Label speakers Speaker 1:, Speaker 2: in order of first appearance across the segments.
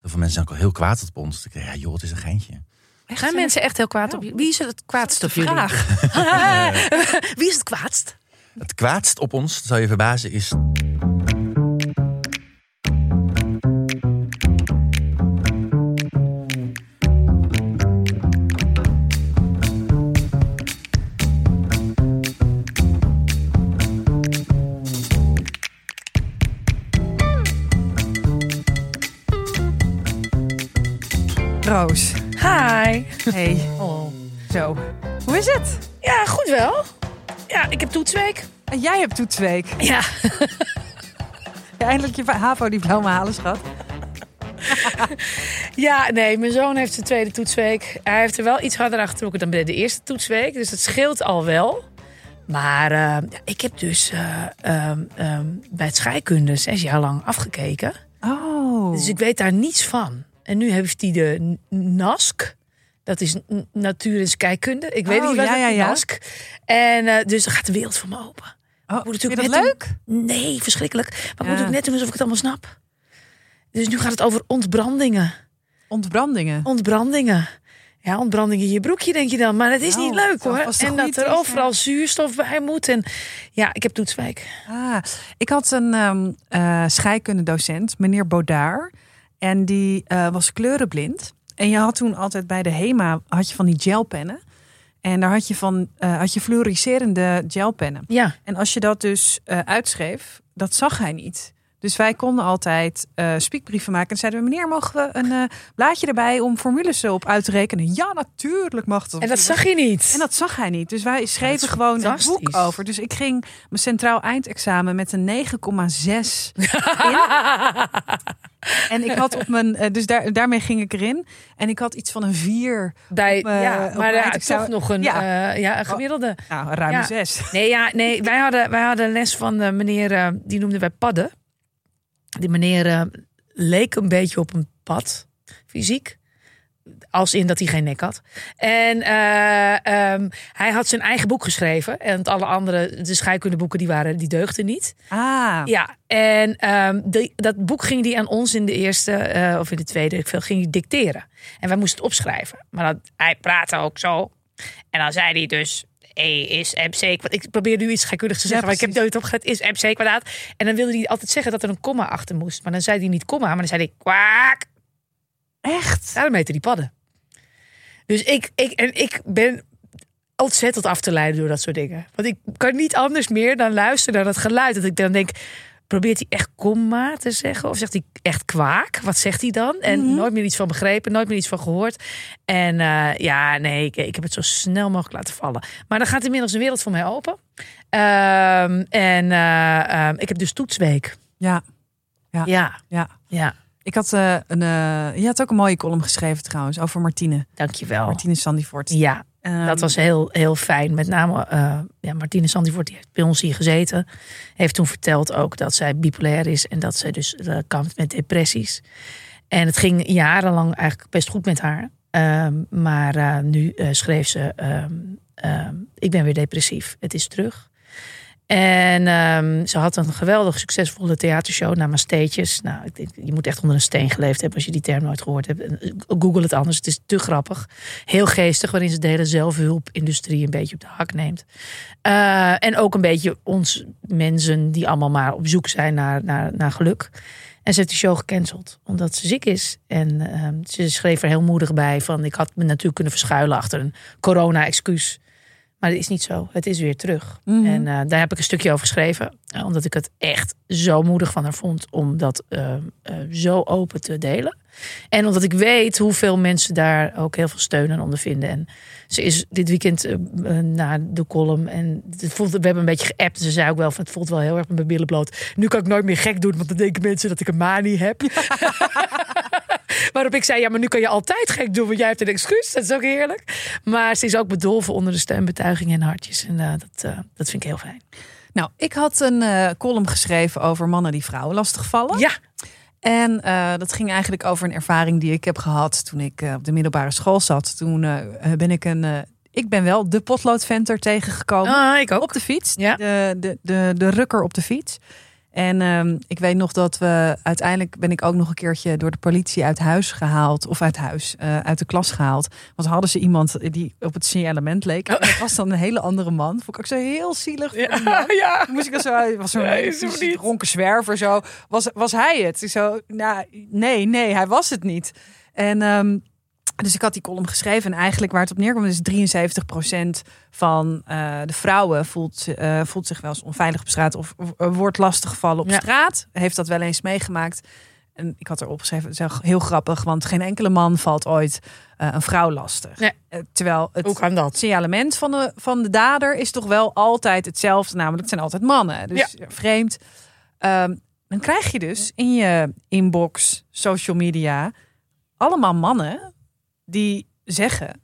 Speaker 1: mensen zijn ook heel kwaad op ons. Dus Ik denk, ja joh, het is een geintje.
Speaker 2: Gaan mensen echt heel kwaad op je? Wie is het kwaadst op jullie? Wie is het kwaadst?
Speaker 1: Het kwaadst op ons, zou je verbazen, is...
Speaker 3: Roos.
Speaker 2: Hi.
Speaker 3: Hey,
Speaker 2: Oh.
Speaker 3: zo. Hoe is het?
Speaker 2: Ja, goed wel. Ja, ik heb toetsweek.
Speaker 3: En jij hebt toetsweek.
Speaker 2: Ja.
Speaker 3: Ja, Eindelijk je HAVO-diploma halen, schat.
Speaker 2: Ja, nee, mijn zoon heeft zijn tweede toetsweek. Hij heeft er wel iets harder achter getrokken dan bij de eerste toetsweek. Dus dat scheelt al wel. Maar eh, ja, ik heb dus eh, ehm, ehm, bij het scheikunde zes jaar lang afgekeken.
Speaker 3: Oh.
Speaker 2: Dus ik weet daar niets van. En nu heeft hij de N- NASC. Dat is N- natuur en scheikunde. Ik weet
Speaker 3: Oh,
Speaker 2: niet wat
Speaker 3: ja,
Speaker 2: het
Speaker 3: ja, ja.
Speaker 2: NASC. En eh, dus dan gaat de wereld voor me open. moet
Speaker 3: oh vind je
Speaker 2: natuurlijk net
Speaker 3: dat leuk?
Speaker 2: Nee, verschrikkelijk. Maar ik moet
Speaker 3: Ja.
Speaker 2: ook net doen alsof ik het allemaal snap. Dus nu gaat het over ontbrandingen.
Speaker 3: Ontbrandingen.
Speaker 2: Ontbrandingen. Ja, ontbranding in je broekje, denk je dan. Maar het is
Speaker 3: Nou,
Speaker 2: niet leuk
Speaker 3: het zal
Speaker 2: hoor.
Speaker 3: vast een
Speaker 2: En
Speaker 3: goeie
Speaker 2: dat er
Speaker 3: tip zijn.
Speaker 2: overal zuurstof bij moet. En ja, ik heb toetswijk.
Speaker 3: Ah, ik had een ehm eh, scheikundedocent, meneer Bodaar. En die eh, was kleurenblind. En je had toen altijd bij de HEMA had je van die gelpennen. En daar had je, van, eh, had je fluoriserende gelpennen.
Speaker 2: Ja,
Speaker 3: En als je dat dus eh, uitschreef, dat zag hij niet. Dus wij konden altijd eh spiekbrieven maken. En zeiden we, meneer, mogen we een eh, blaadje erbij om formules op uit te rekenen? Ja, natuurlijk mag dat.
Speaker 2: en dat zag je niet.
Speaker 3: En dat zag hij niet. Dus wij schreven gewoon een
Speaker 2: fantastisch.
Speaker 3: boek over. Dus ik ging mijn centraal eindexamen met een 9,6 in. En ik had op mijn... eh, Dus daar, daarmee ging ik erin. En ik had iets van een 4.
Speaker 2: bij,
Speaker 3: op, eh,
Speaker 2: ja,
Speaker 3: op
Speaker 2: maar
Speaker 3: mijn
Speaker 2: ja,
Speaker 3: eindexamen-
Speaker 2: toch nog een,
Speaker 3: Ja.
Speaker 2: ja. ja, een gemiddelde.
Speaker 3: Nou, ruim
Speaker 2: Ja.
Speaker 3: een 6.
Speaker 2: Nee, ja, nee wij, hadden, wij hadden les van eh, meneer, eh, die noemden wij padden. Die meneer eh, leek een beetje op een pad, fysiek. Als in dat hij geen nek had. En eh, ehm, hij had zijn eigen boek geschreven. En alle andere, de scheikundeboeken, die, waren, die deugden niet.
Speaker 3: Ah,
Speaker 2: Ja, en ehm, die- dat boek ging die aan ons in de eerste eh, of in de tweede, weet ik veel, ging die dicteren. En wij moesten het opschrijven. Maar dat, hij praatte ook zo. En dan zei hij dus. E is MC kwadraat. Ik probeer nu iets gekkundigs te
Speaker 3: Ja,
Speaker 2: zeggen, maar ik heb
Speaker 3: precies.
Speaker 2: nooit opgelet. Is MC kwadraat. En dan wilde hij altijd zeggen dat er een komma achter moest. Maar dan zei hij niet komma, maar dan zei hij kwaak.
Speaker 3: echt?
Speaker 2: Daarom heette die padden. Dus ik, ik, en ik ben ontzettend af te leiden door dat soort dingen. Want ik kan niet anders meer dan luisteren naar dat geluid. Dat ik dan denk, probeert hij echt komma te zeggen? Of zegt hij echt kwaak? Wat zegt hij dan? En nooit meer iets van begrepen, nooit meer iets van gehoord. En eh, ja, nee, ik, ik heb het zo snel mogelijk laten vallen. Maar dan gaat inmiddels een wereld voor mij open. Ehm, en eh, ehm, ik heb dus toetsweek.
Speaker 3: Ja,
Speaker 2: Ja,
Speaker 3: ja.
Speaker 2: ja,
Speaker 3: Ik had eh, een. eh, je had ook een mooie column geschreven trouwens over Martine.
Speaker 2: dankjewel.
Speaker 3: Martine Sandifort.
Speaker 2: Oh. Ja,
Speaker 3: Ehm,
Speaker 2: Dat was heel, heel fijn. Met name eh ja, Martine Sandivoort, die heeft bij ons hier gezeten. Heeft toen verteld ook dat zij bipolair is en dat zij dus eh, kampt met depressies. En het ging jarenlang eigenlijk best goed met haar. Ehm, maar eh, nu eh, schreef ze: ehm, ehm, Ik ben weer depressief, het is terug. En ehm, ze had een geweldig succesvolle theatershow, Namasteetjes. Nou, ik denk, je moet echt onder een steen geleefd hebben als je die term nooit gehoord hebt. En, eh, Google het anders, het is te grappig. Heel geestig, waarin ze de hele zelfhulpindustrie een beetje op de hak neemt. Eh, en ook een beetje ons mensen die allemaal maar op zoek zijn naar, naar, naar geluk. En ze heeft de show gecanceld, omdat ze ziek is. En ehm, ze schreef er heel moedig bij van... ik had me natuurlijk kunnen verschuilen achter een corona-excuus. Maar dat is niet zo. Het is weer terug.
Speaker 3: Mhm.
Speaker 2: En eh, daar heb ik een stukje over geschreven. eh, Omdat ik het echt zo moedig van haar vond om dat eh, eh, zo open te delen. En omdat ik weet hoeveel mensen daar ook heel veel steun aan ondervinden. En ze is dit weekend eh, eh, na de column. En het voelt, we hebben een beetje geappt. Ze zei ook wel van het voelt wel heel erg met mijn billen bloot. Nu kan ik nooit meer gek doen, want dan denken mensen dat ik een manie heb. Waarop ik zei, ja, maar nu kan je altijd gek doen, want jij hebt een excuus. Dat is ook heerlijk. Maar ze is ook bedolven onder de steunbetuigingen en hartjes. En eh, dat, eh, dat vind ik heel fijn.
Speaker 3: Nou, ik had een eh, column geschreven over mannen die vrouwen lastigvallen.
Speaker 2: Ja,
Speaker 3: En eh, dat ging eigenlijk over een ervaring die ik heb gehad toen ik eh, op de middelbare school zat. Toen eh, eh, ben ik een. eh, ik ben wel de potloodventer tegengekomen.
Speaker 2: Ah, ik ook.
Speaker 3: Op de fiets.
Speaker 2: Ja.
Speaker 3: De, de, de, de rukker op de fiets. En ehm, ik weet nog dat we uiteindelijk ben ik ook nog een keertje door de politie uit huis gehaald. Of uit huis, eh, uit de klas gehaald. Want hadden ze iemand die op het signalement leek. En dat was dan een hele andere man. Vond ik ook zo heel zielig. voor die man.
Speaker 2: ja.
Speaker 3: Toen moest ik dat zo, hij was zo'n
Speaker 2: Nee,
Speaker 3: hele
Speaker 2: is hem
Speaker 3: vieze,
Speaker 2: niet.
Speaker 3: dronken zwerver zo. Was, was hij het? Ik zo, nou, nee, nee, hij was het niet. En ehm, dus ik had die column geschreven en eigenlijk waar het op neerkomt is 73% van eh, de vrouwen voelt, eh, voelt zich wel eens onveilig op straat of eh, wordt lastiggevallen op
Speaker 2: Ja.
Speaker 3: straat. Heeft dat wel eens meegemaakt. En ik had erop geschreven, het is wel heel grappig, want geen enkele man valt ooit eh, een vrouw lastig.
Speaker 2: Nee.
Speaker 3: Eh, terwijl het,
Speaker 2: Hoe kan
Speaker 3: het
Speaker 2: dat?
Speaker 3: signalement van de, van de dader is toch wel altijd hetzelfde. Namelijk, het zijn altijd mannen. Dus vreemd. Ehm, dan krijg je dus in je inbox, social media, allemaal mannen die zeggen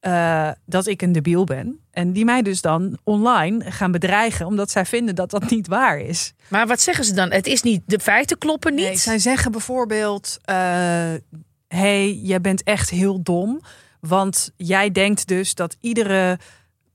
Speaker 3: eh, dat ik een debiel ben. En die mij dus dan online gaan bedreigen, omdat zij vinden dat dat niet waar is.
Speaker 2: Maar wat zeggen ze dan? Het is niet, de feiten kloppen
Speaker 3: Nee,
Speaker 2: niet.
Speaker 3: zij zeggen bijvoorbeeld: eh hey, jij bent echt heel dom. Want jij denkt dus dat iedere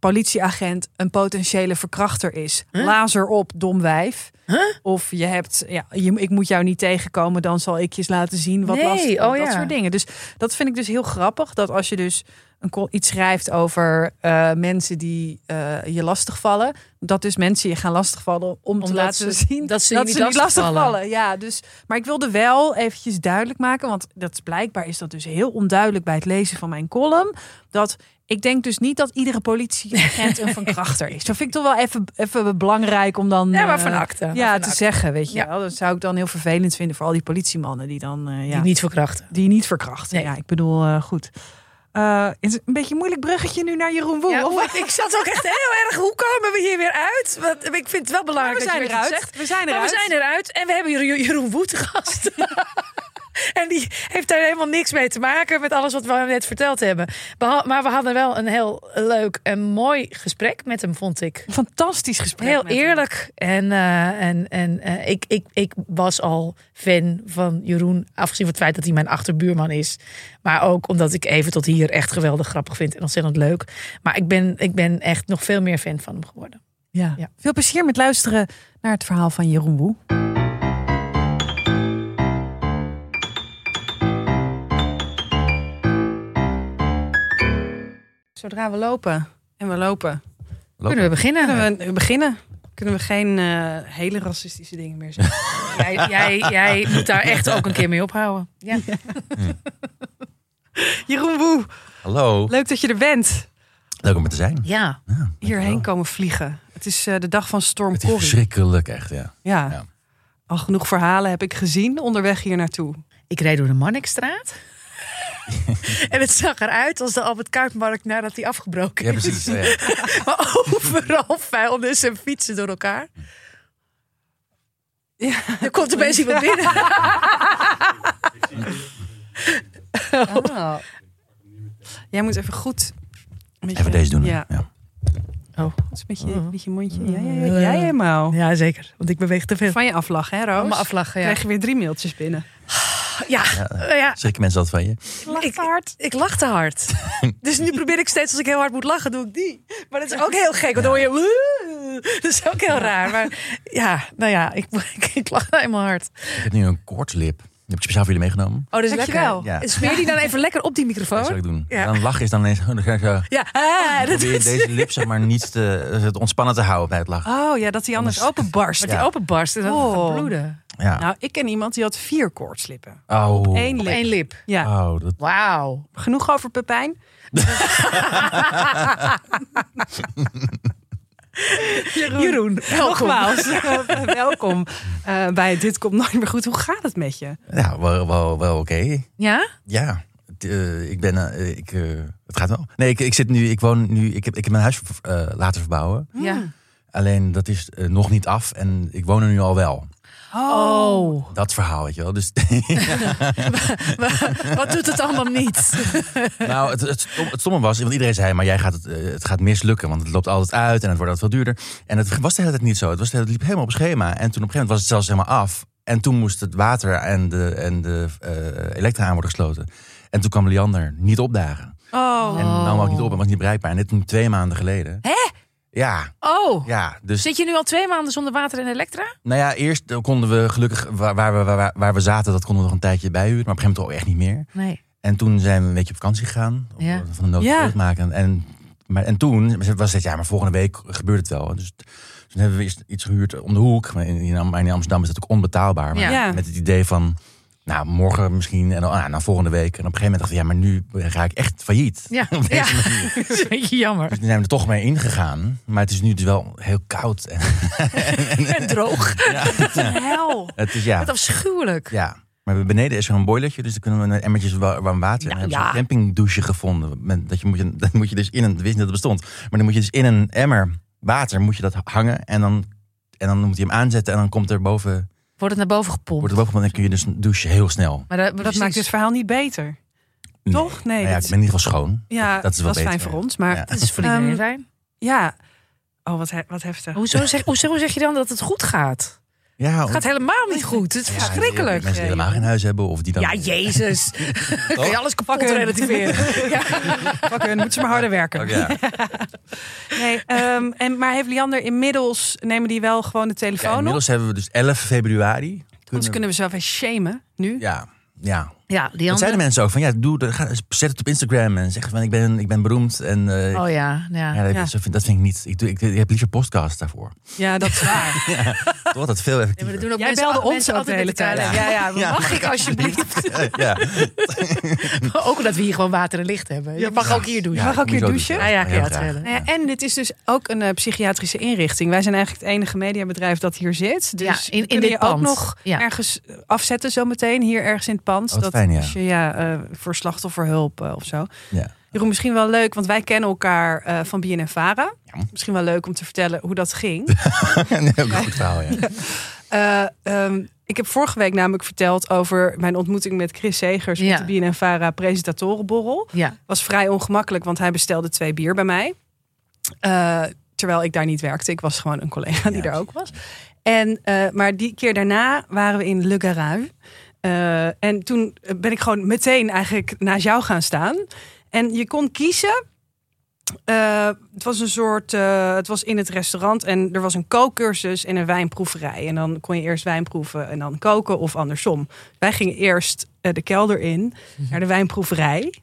Speaker 3: politieagent een potentiële verkrachter is.
Speaker 2: Huh?
Speaker 3: Lazer op, dom wijf.
Speaker 2: Huh?
Speaker 3: Of je hebt, ja, je, ik moet jou niet tegenkomen, dan zal ik je eens laten zien wat
Speaker 2: Nee,
Speaker 3: lastig is.
Speaker 2: oh
Speaker 3: dat
Speaker 2: ja.
Speaker 3: soort dingen. Dus dat vind ik dus heel grappig. Dat als je dus een, col- iets schrijft over eh, mensen die eh, je lastigvallen. Dat dus mensen je gaan lastigvallen om te
Speaker 2: Omdat
Speaker 3: laten
Speaker 2: ze-
Speaker 3: zien
Speaker 2: dat ze je niet
Speaker 3: lastigvallen.
Speaker 2: lastigvallen.
Speaker 3: Ja, dus, maar ik wilde wel eventjes duidelijk maken, want dat is, blijkbaar is dat dus heel onduidelijk bij het lezen van mijn column. Dat ik denk dus niet dat iedere politieagent een verkrachter is. Dat vind ik toch wel even, even belangrijk om dan
Speaker 2: Ja, maar van
Speaker 3: eh,
Speaker 2: akte. Maar
Speaker 3: ja,
Speaker 2: van
Speaker 3: te
Speaker 2: akte.
Speaker 3: zeggen, weet je
Speaker 2: Ja.
Speaker 3: wel. Dat zou ik dan heel vervelend vinden voor al die politiemannen die dan eh, ja,
Speaker 2: Die niet verkrachten.
Speaker 3: die niet verkrachten.
Speaker 2: Nee.
Speaker 3: Ja, ik bedoel, eh, goed. Eh, het is een beetje een moeilijk bruggetje nu naar Jeroen Woel.
Speaker 2: Ja,
Speaker 3: of-
Speaker 2: hoe- ik zat ook echt heel erg. Hoe komen we hier weer uit? Want ik vind het wel belangrijk
Speaker 3: we
Speaker 2: dat
Speaker 3: zijn
Speaker 2: je weer iets
Speaker 3: eruit.
Speaker 2: zegt.
Speaker 3: We zijn
Speaker 2: Maar
Speaker 3: eruit.
Speaker 2: we zijn eruit en we hebben Jero- Jeroen Woed te gast. en die heeft daar helemaal niks mee te maken met alles wat we net verteld hebben. Behal- Maar we hadden wel een heel leuk en mooi gesprek met hem, vond ik.
Speaker 3: Fantastisch gesprek.
Speaker 2: Heel
Speaker 3: met hem.
Speaker 2: eerlijk. En, eh, en, en eh, ik, ik, ik was al fan van Jeroen. Afgezien van het feit dat hij mijn achterbuurman is. Maar ook omdat ik even tot hier echt geweldig grappig vind en ontzettend leuk. Maar ik ben, ik ben echt nog veel meer fan van hem geworden.
Speaker 3: Ja.
Speaker 2: Ja.
Speaker 3: Veel plezier met luisteren naar het verhaal van Jeroen Woe. Zodra we lopen en we lopen,
Speaker 2: Kunnen we beginnen?
Speaker 3: kunnen we eh, beginnen. Kunnen we geen eh, hele racistische dingen meer zeggen?
Speaker 2: Jij, jij, jij moet daar echt ook een keer mee ophouden. Ja.
Speaker 3: Jeroen Woe,
Speaker 1: Hallo,
Speaker 3: leuk dat je er bent.
Speaker 1: leuk om er te zijn.
Speaker 2: ja.
Speaker 3: Hierheen komen vliegen. Het is eh, de dag van Storm
Speaker 1: Het is
Speaker 3: Corrie.
Speaker 1: verschrikkelijk, echt, ja.
Speaker 3: Ja.
Speaker 1: Ja.
Speaker 3: Al genoeg verhalen heb ik gezien onderweg hier naartoe.
Speaker 2: Ik reed door de Mannikstraat. en het zag eruit als de Albert Kuipmarkt nadat hij afgebroken
Speaker 1: Ja,
Speaker 2: is.
Speaker 1: precies. Oh, ja, ja.
Speaker 2: Maar overal vuilnis en fietsen door elkaar.
Speaker 3: Ja.
Speaker 2: Er komt opeens iemand binnen.
Speaker 3: Oh. Jij moet even goed. een beetje-
Speaker 1: Even deze doen.
Speaker 3: Ja,
Speaker 1: Ja. Ja.
Speaker 2: Oh.
Speaker 3: dat is met je, met je mondje. Ja, ja, Uh-huh. ja, ja, helemaal.
Speaker 2: Ja, zeker. Want ik beweeg te veel.
Speaker 3: Van je aflachen, hè, Roos?
Speaker 2: Van me aflachen, ja.
Speaker 3: Krijg je weer drie mailtjes binnen.
Speaker 2: Ja, nou ja.
Speaker 1: Schrikken mensen dat van je?
Speaker 2: Ik, ik lach te hard. dus nu probeer ik steeds als ik heel hard moet lachen, doe ik die. Maar dat is ook heel gek, want dan hoor je... "Woe." Dat is ook heel raar. Maar ja, nou ja, ik, ik, ik lach nou helemaal hard.
Speaker 1: Ik heb nu een koortslip. Die heb ik speciaal voor jullie meegenomen.
Speaker 2: Oh, dat is
Speaker 3: Dankjewel.
Speaker 1: Ja.
Speaker 2: En Smeer die dan even lekker op die
Speaker 1: Dat zal
Speaker 2: microfoon.
Speaker 1: ik doen.
Speaker 2: Oh? Ja.
Speaker 1: Dan lachen is dan ineens... Dan ga ik zo-
Speaker 2: Ja, ah, dat
Speaker 1: probeer
Speaker 2: is...
Speaker 1: deze lip zeg maar niet te, het ontspannen te houden bij het lachen.
Speaker 3: Oh ja, dat hij anders openbarst.
Speaker 2: Die openbarst en dan
Speaker 3: Oh.
Speaker 2: gaat bloeden.
Speaker 1: Ja.
Speaker 3: Nou, ik ken iemand die had vier koortslippen.
Speaker 1: Oh.
Speaker 3: Eén lip.
Speaker 2: Eén Nou, lip.
Speaker 3: Ja,
Speaker 1: Oh, dat,
Speaker 2: Wauw.
Speaker 3: genoeg over Pepijn. Jeroen,
Speaker 2: Jeroen, welkom.
Speaker 3: nogmaals, eh, welkom eh, bij Dit Komt Nooit Meer Goed. Hoe gaat het met je?
Speaker 1: ja, wel, wel, wel oké.
Speaker 2: Ja?
Speaker 1: Ja, het, eh, ik ben. eh, ik, eh, het gaat wel. Nee, ik, ik zit nu. Ik woon nu. Ik heb, ik heb mijn huis ver- eh, laten verbouwen.
Speaker 2: Ja.
Speaker 1: Alleen dat is eh, nog niet af en ik woon er nu al wel.
Speaker 2: Oh,
Speaker 1: Dat verhaal, weet je wel. Dus,
Speaker 2: wat doet het allemaal niet?
Speaker 1: nou, het, het, stom- het stomme was, want iedereen zei, maar jij gaat het, eh, het gaat mislukken, want het loopt altijd uit en het wordt altijd veel duurder. En het was de hele tijd niet zo. Het, was de hele- het liep helemaal op schema. En toen op een gegeven moment was het zelfs helemaal af. En toen moest het water en de, en de eh, elektra aan worden gesloten. En toen kwam Liander niet opdagen.
Speaker 3: Oh,
Speaker 1: nou En nam ook niet op en was niet bereikbaar. En dit nu twee maanden geleden. Hè? Ja,
Speaker 2: Oh,
Speaker 1: ja. Dus
Speaker 2: zit je nu al twee maanden zonder water en elektra?
Speaker 1: nou ja, eerst eh, konden we gelukkig waar, waar, we, waar, waar we zaten, dat konden we nog een tijdje bijhuren. Maar op een gegeven moment toch echt niet meer.
Speaker 2: Nee.
Speaker 1: En toen zijn we een beetje op vakantie gegaan. om
Speaker 2: Ja.
Speaker 1: Van de nood
Speaker 3: Ja.
Speaker 1: ja. maken. En, maar, en toen was het, ja, maar volgende week gebeurt het wel. Dus toen hebben we eerst iets gehuurd om de hoek. Maar in, in Am- in Amsterdam is dat ook onbetaalbaar. Maar
Speaker 3: Ja.
Speaker 1: met het idee van, nou, morgen misschien. En dan, ah, nou, volgende week. En op een gegeven moment dacht ik, ja, maar nu ga ik echt failliet.
Speaker 2: Ja,
Speaker 1: Op deze
Speaker 2: ja.
Speaker 1: manier.
Speaker 2: dat is een beetje jammer.
Speaker 1: Dus toen zijn we er toch mee ingegaan. Maar het is nu dus wel heel koud. En,
Speaker 2: En droog.
Speaker 3: Hel.
Speaker 1: het is, ja,
Speaker 2: Wat afschuwelijk.
Speaker 1: ja. Maar beneden is er een boilertje, dus dan kunnen we een emmertjes wa- warm water.
Speaker 2: Nou,
Speaker 1: en we hebben
Speaker 2: ja.
Speaker 1: een campingdouche gevonden. Met- Dat, je moet je, dat moet je dus in een, wist niet dat het bestond. Maar dan moet je dus in een emmer water moet je dat hangen. En dan, en dan moet je hem aanzetten en dan komt er boven,
Speaker 2: Wordt het naar boven gepompt.
Speaker 1: wordt er boven. want Dan kun je dus douchen heel snel.
Speaker 2: Maar dat, dus
Speaker 3: Dat maakt het verhaal niet beter.
Speaker 1: Nee.
Speaker 3: Toch? Nee.
Speaker 1: Nou ja,
Speaker 3: dat-
Speaker 1: ik ben in ieder geval schoon.
Speaker 3: Ja,
Speaker 1: dat is wel
Speaker 3: dat is fijn
Speaker 1: beter.
Speaker 3: voor ons. Maar ja.
Speaker 1: Ja.
Speaker 2: Dat is voor iedereen
Speaker 3: Ehm,
Speaker 2: fijn.
Speaker 3: Oh, wat, he- wat heftig.
Speaker 2: Hoezo zeg, hoezo zeg je dan dat het goed gaat?
Speaker 1: Ja,
Speaker 2: Het gaat helemaal niet goed. Het is
Speaker 1: Oh. ja,
Speaker 2: verschrikkelijk.
Speaker 1: Mensen die helemaal geen huis hebben of die dan...
Speaker 2: Ja, jezus. Kun je alles kapot
Speaker 3: Pakken.
Speaker 2: relativeren. Ja.
Speaker 3: Pak hun, moeten ze maar harder werken.
Speaker 1: Oh, ja.
Speaker 3: Nee, ehm, en, maar heeft Liander inmiddels, nemen die wel gewoon de telefoon
Speaker 1: Ja,
Speaker 3: op?
Speaker 1: inmiddels hebben we dus 11 februari.
Speaker 3: Anders kunnen we zelf even shamen nu.
Speaker 1: Ja, ja.
Speaker 2: Ja,
Speaker 1: Dat zeiden
Speaker 2: Lianne.
Speaker 1: mensen ook van ja, doe, dat- ga, zet het op Instagram en zeg van ik ben, ik ben beroemd. En, eh,
Speaker 2: Oh ja, ja.
Speaker 1: ja, dat,
Speaker 3: ja.
Speaker 1: zo vind, dat vind ik niet. Ik, doe, ik, ik heb liever podcasts daarvoor.
Speaker 3: Ja, dat is waar.
Speaker 1: Toch? Dat is veel
Speaker 2: Ja, maar dat
Speaker 1: effectiever.
Speaker 2: doen ook
Speaker 3: Jij
Speaker 2: mensen,
Speaker 3: belde ons
Speaker 2: mensen
Speaker 3: ook de hele
Speaker 2: met elkaar.
Speaker 3: tijd.
Speaker 2: Ja,
Speaker 3: Ja, ja.
Speaker 1: Ja.
Speaker 2: mag ik alsjeblieft?
Speaker 1: Ja,
Speaker 2: ook omdat we hier gewoon water en licht hebben. Je mag ook hier douchen.
Speaker 1: Ja,
Speaker 3: mag ook
Speaker 1: ik
Speaker 3: hier
Speaker 1: moet
Speaker 3: douchen?
Speaker 2: Ah ja,
Speaker 1: Heel
Speaker 2: ja,
Speaker 1: graag.
Speaker 2: het
Speaker 3: Nou ja, en dit is dus ook een eh, psychiatrische inrichting. Wij zijn eigenlijk het enige mediabedrijf dat hier zit. Dus
Speaker 2: Ja, in- in
Speaker 3: kun
Speaker 2: dit
Speaker 3: je ook
Speaker 2: pand.
Speaker 3: nog
Speaker 2: Ja.
Speaker 3: ergens eh, afzetten zometeen. Hier ergens in het pand.
Speaker 1: Oh, wat fijn, ja.
Speaker 3: Als je ja, eh, voor slachtofferhulp eh, of zo.
Speaker 1: ja.
Speaker 3: Jeroen, misschien wel leuk, want wij kennen elkaar eh van BNNVARA.
Speaker 1: Ja.
Speaker 3: Misschien wel leuk om te vertellen hoe dat ging.
Speaker 1: Een heel goed verhaal, ja.
Speaker 3: Eh, ehm, ik heb vorige week namelijk verteld over mijn ontmoeting met Chris Segers...
Speaker 2: Ja.
Speaker 3: op de BNNVARA presentatorenborrel.
Speaker 2: Ja,
Speaker 3: was vrij ongemakkelijk, want hij bestelde twee bier bij mij. Eh, terwijl ik daar niet werkte. Ik was gewoon een collega
Speaker 1: Ja.
Speaker 3: die daar ook was. En, eh, maar die keer daarna waren we in Le Garage. Eh, en toen ben ik gewoon meteen eigenlijk naast jou gaan staan. En je kon kiezen. Eh, het was een soort. eh, het was in het restaurant en er was een kookcursus en een wijnproeverij. En dan kon je eerst wijn proeven en dan koken of andersom. Wij gingen eerst eh, de kelder in naar de wijnproeverij.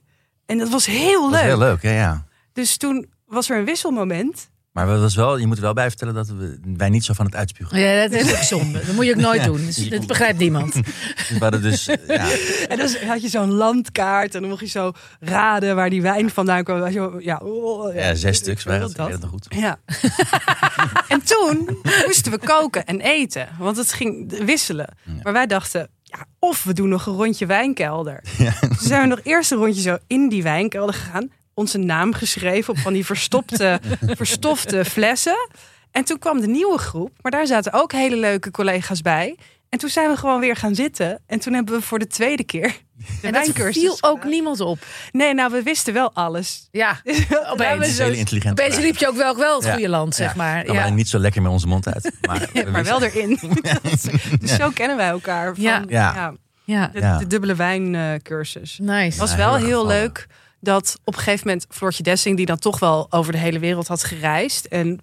Speaker 3: En dat was heel
Speaker 1: Mhm. Dat
Speaker 3: leuk.
Speaker 1: was heel leuk, ja, ja.
Speaker 3: Dus toen was er een wisselmoment.
Speaker 1: Maar dat was wel, je moet er wel bij vertellen dat we, wij niet zo van het uitspugen
Speaker 2: ja dat is ook zonde. Dat moet je ook nooit
Speaker 1: Ja.
Speaker 2: doen. Dus dat begrijpt niemand.
Speaker 1: zijn. We hadden dus, eh, ja,
Speaker 3: En dan had je zo'n landkaart en dan mocht je zo raden waar die wijn vandaan kwam. Als je- Ja, oh,
Speaker 1: ja, zes stuks. Wij
Speaker 3: dat-
Speaker 1: hadden het nog goed.
Speaker 3: Ja. en toen moesten we koken en eten, want het ging wisselen. Maar wij dachten, ja, of we doen nog een rondje wijnkelder. Dus toen zijn we nog eerst een rondje zo in die wijnkelder gegaan. Onze naam geschreven op van die verstopte, verstofte flessen. En toen kwam de nieuwe groep, maar daar zaten ook hele leuke collega's bij. En toen zijn we gewoon weer gaan zitten. En toen hebben we voor de tweede keer de
Speaker 2: En dat
Speaker 3: wijncursus
Speaker 2: viel ook
Speaker 3: gedaan.
Speaker 2: niemand op.
Speaker 3: Nee, nou, we wisten wel alles.
Speaker 2: Ja,
Speaker 3: Daar
Speaker 1: Het
Speaker 3: we
Speaker 1: is
Speaker 2: opeens.
Speaker 1: een
Speaker 3: zo
Speaker 1: hele intelligente
Speaker 2: Opeens
Speaker 1: vraag.
Speaker 2: liep je ook wel, wel het
Speaker 1: Ja.
Speaker 2: goede land, zeg
Speaker 1: Ja.
Speaker 2: maar.
Speaker 1: Kwam
Speaker 2: Ja.
Speaker 1: alleen niet zo lekker met onze mond uit. Maar, we
Speaker 3: maar wel
Speaker 1: wisten-
Speaker 3: erin. dus zo kennen wij elkaar. Van,
Speaker 2: Ja.
Speaker 3: ja.
Speaker 1: Ja.
Speaker 2: ja,
Speaker 3: de,
Speaker 1: Ja.
Speaker 3: de dubbele wijncursus.
Speaker 2: nice.
Speaker 3: was
Speaker 1: Ja,
Speaker 3: wel
Speaker 1: heel
Speaker 3: heel,
Speaker 1: gevallen.
Speaker 3: leuk dat op een gegeven moment Floortje Dessing, die dan toch wel over de hele wereld had gereisd. En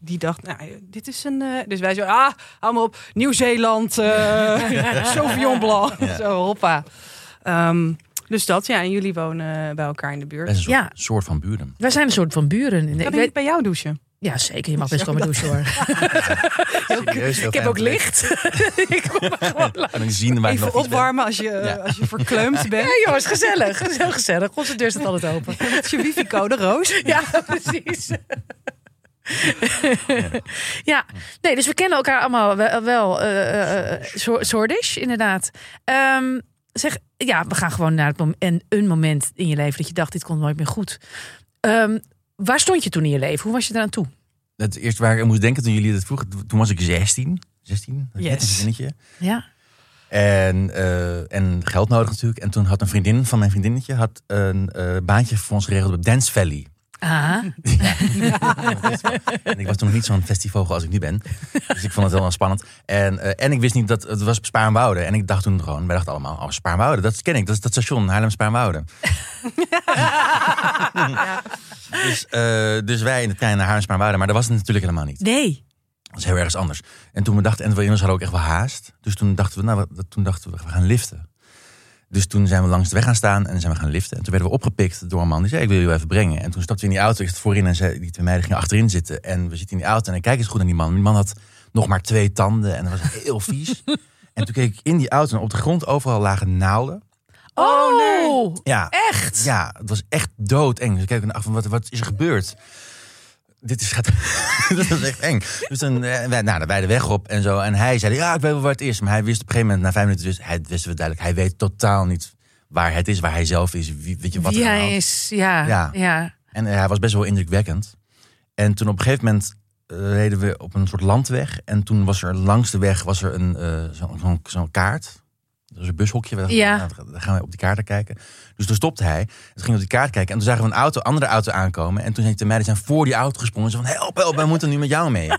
Speaker 3: die dacht, nou, dit is een. eh, dus wij zo, ah, allemaal op Nieuw-Zeeland, eh Sauvignon Blanc.
Speaker 1: Ja.
Speaker 3: Zo, hoppa. Ehm, dus dat, ja. En jullie wonen bij elkaar in de buurt.
Speaker 1: best een soort,
Speaker 2: Ja.
Speaker 1: soort van buren.
Speaker 2: Wij zijn een soort van buren. Ik
Speaker 3: Kan ik
Speaker 2: weet-
Speaker 3: niet bij jou douchen?
Speaker 2: ja, zeker. Je mag best wel met douchen hoor.
Speaker 1: Serieus, heel
Speaker 2: Ik heb
Speaker 1: fijn.
Speaker 2: ook licht. ik kom maar gewoon langs.
Speaker 1: En dan zien waar ik nog
Speaker 3: Even
Speaker 1: iets ben.
Speaker 3: opwarmen als je,
Speaker 1: Ja.
Speaker 3: als je verkleumd
Speaker 2: Ja,
Speaker 3: bent.
Speaker 2: jongens, gezellig. Het is heel gezellig. Onze deur staat altijd open.
Speaker 3: Met je wifi-code, Roos.
Speaker 2: Ja, precies. ja, nee, dus we kennen elkaar allemaal wel, wel eh, eh, so- soortish, inderdaad. Ehm, zeg, ja, we gaan gewoon naar het mom- en een moment in je leven dat je dacht, dit komt nooit meer goed. Ehm, waar stond je toen in je leven? Hoe was je eraan toe?
Speaker 1: Het eerste waar ik aan moest denken toen jullie dat vroegen, toen was ik 16. 16? Dat is net
Speaker 3: Yes.
Speaker 1: Een zinnetje.
Speaker 2: Ja,
Speaker 1: En, eh, en geld nodig natuurlijk. En toen had een vriendin van mijn vriendinnetje had een eh, baantje voor ons geregeld op Dance Valley.
Speaker 2: ah,
Speaker 1: En ik was toen nog niet zo'n festival als ik nu ben. Dus ik vond het heel spannend. En, eh, en ik wist niet dat het was Spaarnwoude. En ik dacht toen gewoon, wij dachten allemaal, oh Spaarnwoude, dat ken ik. Dat is dat station Haarlem Spaarnwoude. Dus, eh, dus wij in de trein naar Haarsma waren, maar dat was het natuurlijk helemaal niet.
Speaker 3: Nee.
Speaker 1: Dat is heel ergens anders. En toen we dachten, en we in ons hadden ook echt wel haast. Dus toen dachten we, nou, we- toen dachten we, we gaan liften. Dus toen zijn we langs de weg gaan staan en zijn we gaan liften. En toen werden we opgepikt door een man die zei, ik wil je even brengen. En toen stapten we in die auto, ik zat voorin en zei, die twee meiden gingen achterin zitten. En we zitten in die auto en ik kijk eens goed naar die man. Die man had nog maar twee tanden en dat was heel vies. en toen keek ik in die auto en op de grond overal lagen naalden.
Speaker 3: Oh, nee.
Speaker 1: Ja,
Speaker 2: Echt?
Speaker 1: ja, het was echt doodeng. Dus ik kijk naar achter, wat, wat is er gebeurd? Dit is, gaat, dat was echt eng. Dus dan, eh, wij, nou, dan wij de weg op en zo. En hij zei, ja, ik weet wel waar het is. Maar hij wist op een gegeven moment, na vijf minuten, dus, hij wisten we duidelijk, hij weet totaal niet waar het is, waar hij zelf is, wie, weet je, wat
Speaker 2: Wie
Speaker 1: er aan de hand
Speaker 2: hij is, ja.
Speaker 1: Ja.
Speaker 2: ja.
Speaker 1: en eh, hij was best wel indrukwekkend. En toen op een gegeven moment eh, reden we op een soort landweg. En toen was er langs de weg was er een, eh, zo'n zo'n- zo'n kaart. Dat was een bushokje. We dachten,
Speaker 2: Ja.
Speaker 1: nou, Dan gaan we op die kaarten kijken. Dus toen stopte hij. Toen ging op die kaart kijken. En toen zagen we een auto, andere auto aankomen. En toen zei hij tegen mij, die zijn voor die auto gesprongen. Ze van, help, help, wij moeten nu met jou mee.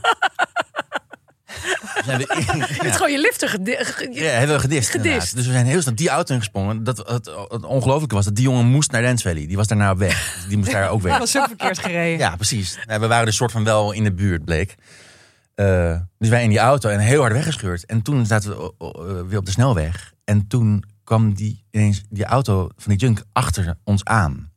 Speaker 1: Toen zijn we
Speaker 2: Je hebt
Speaker 1: ja.
Speaker 2: gewoon je liften gedi- ge-
Speaker 1: Ja, hebben we gedist.
Speaker 2: Gedist.
Speaker 1: inderdaad. Dus we zijn heel snel die auto ingesprongen. Dat, het, het ongelooflijke was dat die jongen moest naar Dance Valley. Die was daarna op weg. Dus Die moest daar ook weg.
Speaker 3: Dat was ook verkeerd gereden.
Speaker 1: Ja, precies. Ja, we waren dus soort van wel in de buurt, bleek. Eh, dus wij in die auto en heel hard weggescheurd. En toen zaten we o- o- eh, weer op de snelweg. En toen kwam die, ineens die auto van die junk achter ons aan.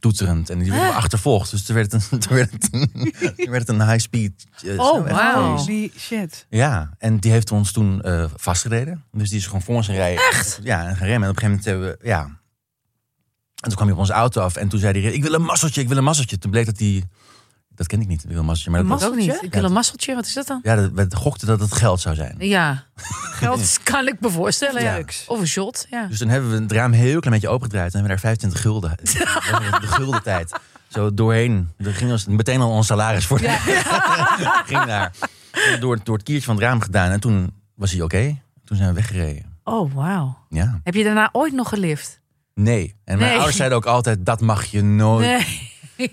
Speaker 1: Toeterend. En die werd achtervolgd. Dus toen werd het een, toen werd het een, toen werd het een high-speed eh,
Speaker 2: Oh,
Speaker 1: snelweg.
Speaker 2: wauw.
Speaker 3: Holy shit.
Speaker 1: Ja, en die heeft ons toen eh, vastgereden. Dus die is gewoon voor ons gaan rijden. Echt? Ja, en gaan remmen. En op een gegeven moment hebben we, ja. En toen kwam hij op onze auto af en toen zei hij, ik wil een masseltje, ik wil een masseltje. Toen bleek dat hij, dat ken ik niet, ik wil een masseltje. Maar dat was-
Speaker 2: Mag ook niet. Ik wil
Speaker 1: Ja.
Speaker 2: een masseltje, wat is dat dan?
Speaker 1: ja, dat, we gokten dat het geld zou zijn.
Speaker 2: Ja,
Speaker 3: Geld.
Speaker 2: dat kan ik me voorstellen. Ja.
Speaker 3: Leuks.
Speaker 2: Of een shot, ja.
Speaker 1: Dus toen hebben we het raam heel klein beetje opengedraaid en hebben we daar 25 gulden, de gulden tijd, zo doorheen. Er ging ons, meteen al ons salaris voor. ging daar. Door, door het kiertje van het raam gedaan en toen was hij oké. Toen zijn we weggereden.
Speaker 2: Oh, wauw.
Speaker 1: Ja.
Speaker 2: Heb je daarna ooit nog gelift?
Speaker 1: Nee. En mijn
Speaker 2: Nee.
Speaker 1: ouders zeiden ook altijd, dat mag je nooit.
Speaker 2: Nee.
Speaker 1: En-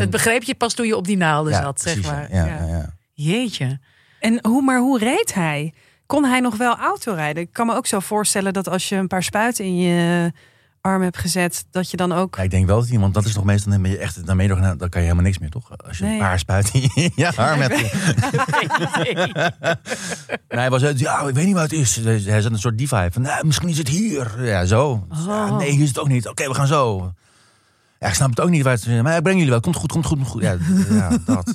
Speaker 2: Dat begreep je pas toen je op die naalden
Speaker 1: Ja,
Speaker 2: zat,
Speaker 1: precies,
Speaker 2: zeg maar.
Speaker 1: Ja, ja.
Speaker 3: Ja.
Speaker 1: ja.
Speaker 2: Jeetje.
Speaker 3: En hoe, maar hoe reed hij? Kon hij nog wel autorijden? Ik kan me ook zo voorstellen dat als je een paar spuiten in je arm hebt gezet, dat je dan ook.
Speaker 1: Ja, ik denk wel dat iemand, dat is nog meestal, dan ben je echt, dan, ben je nog, dan kan je helemaal niks meer, toch? Als je een
Speaker 3: Nee.
Speaker 1: paar spuit in je arm hebt. Nee, hij was, uit, ja, ik weet niet waar het is. Hij zat in een soort diva van, nou, misschien is het hier. Ja, zo. Dus, ja,
Speaker 2: Oh.
Speaker 1: nee, hier is het ook niet. Oké, we gaan zo. Ja, ik snap het ook niet waar het is. Maar ik breng jullie wel. Komt goed, komt goed, komt goed. Ja, ja dat.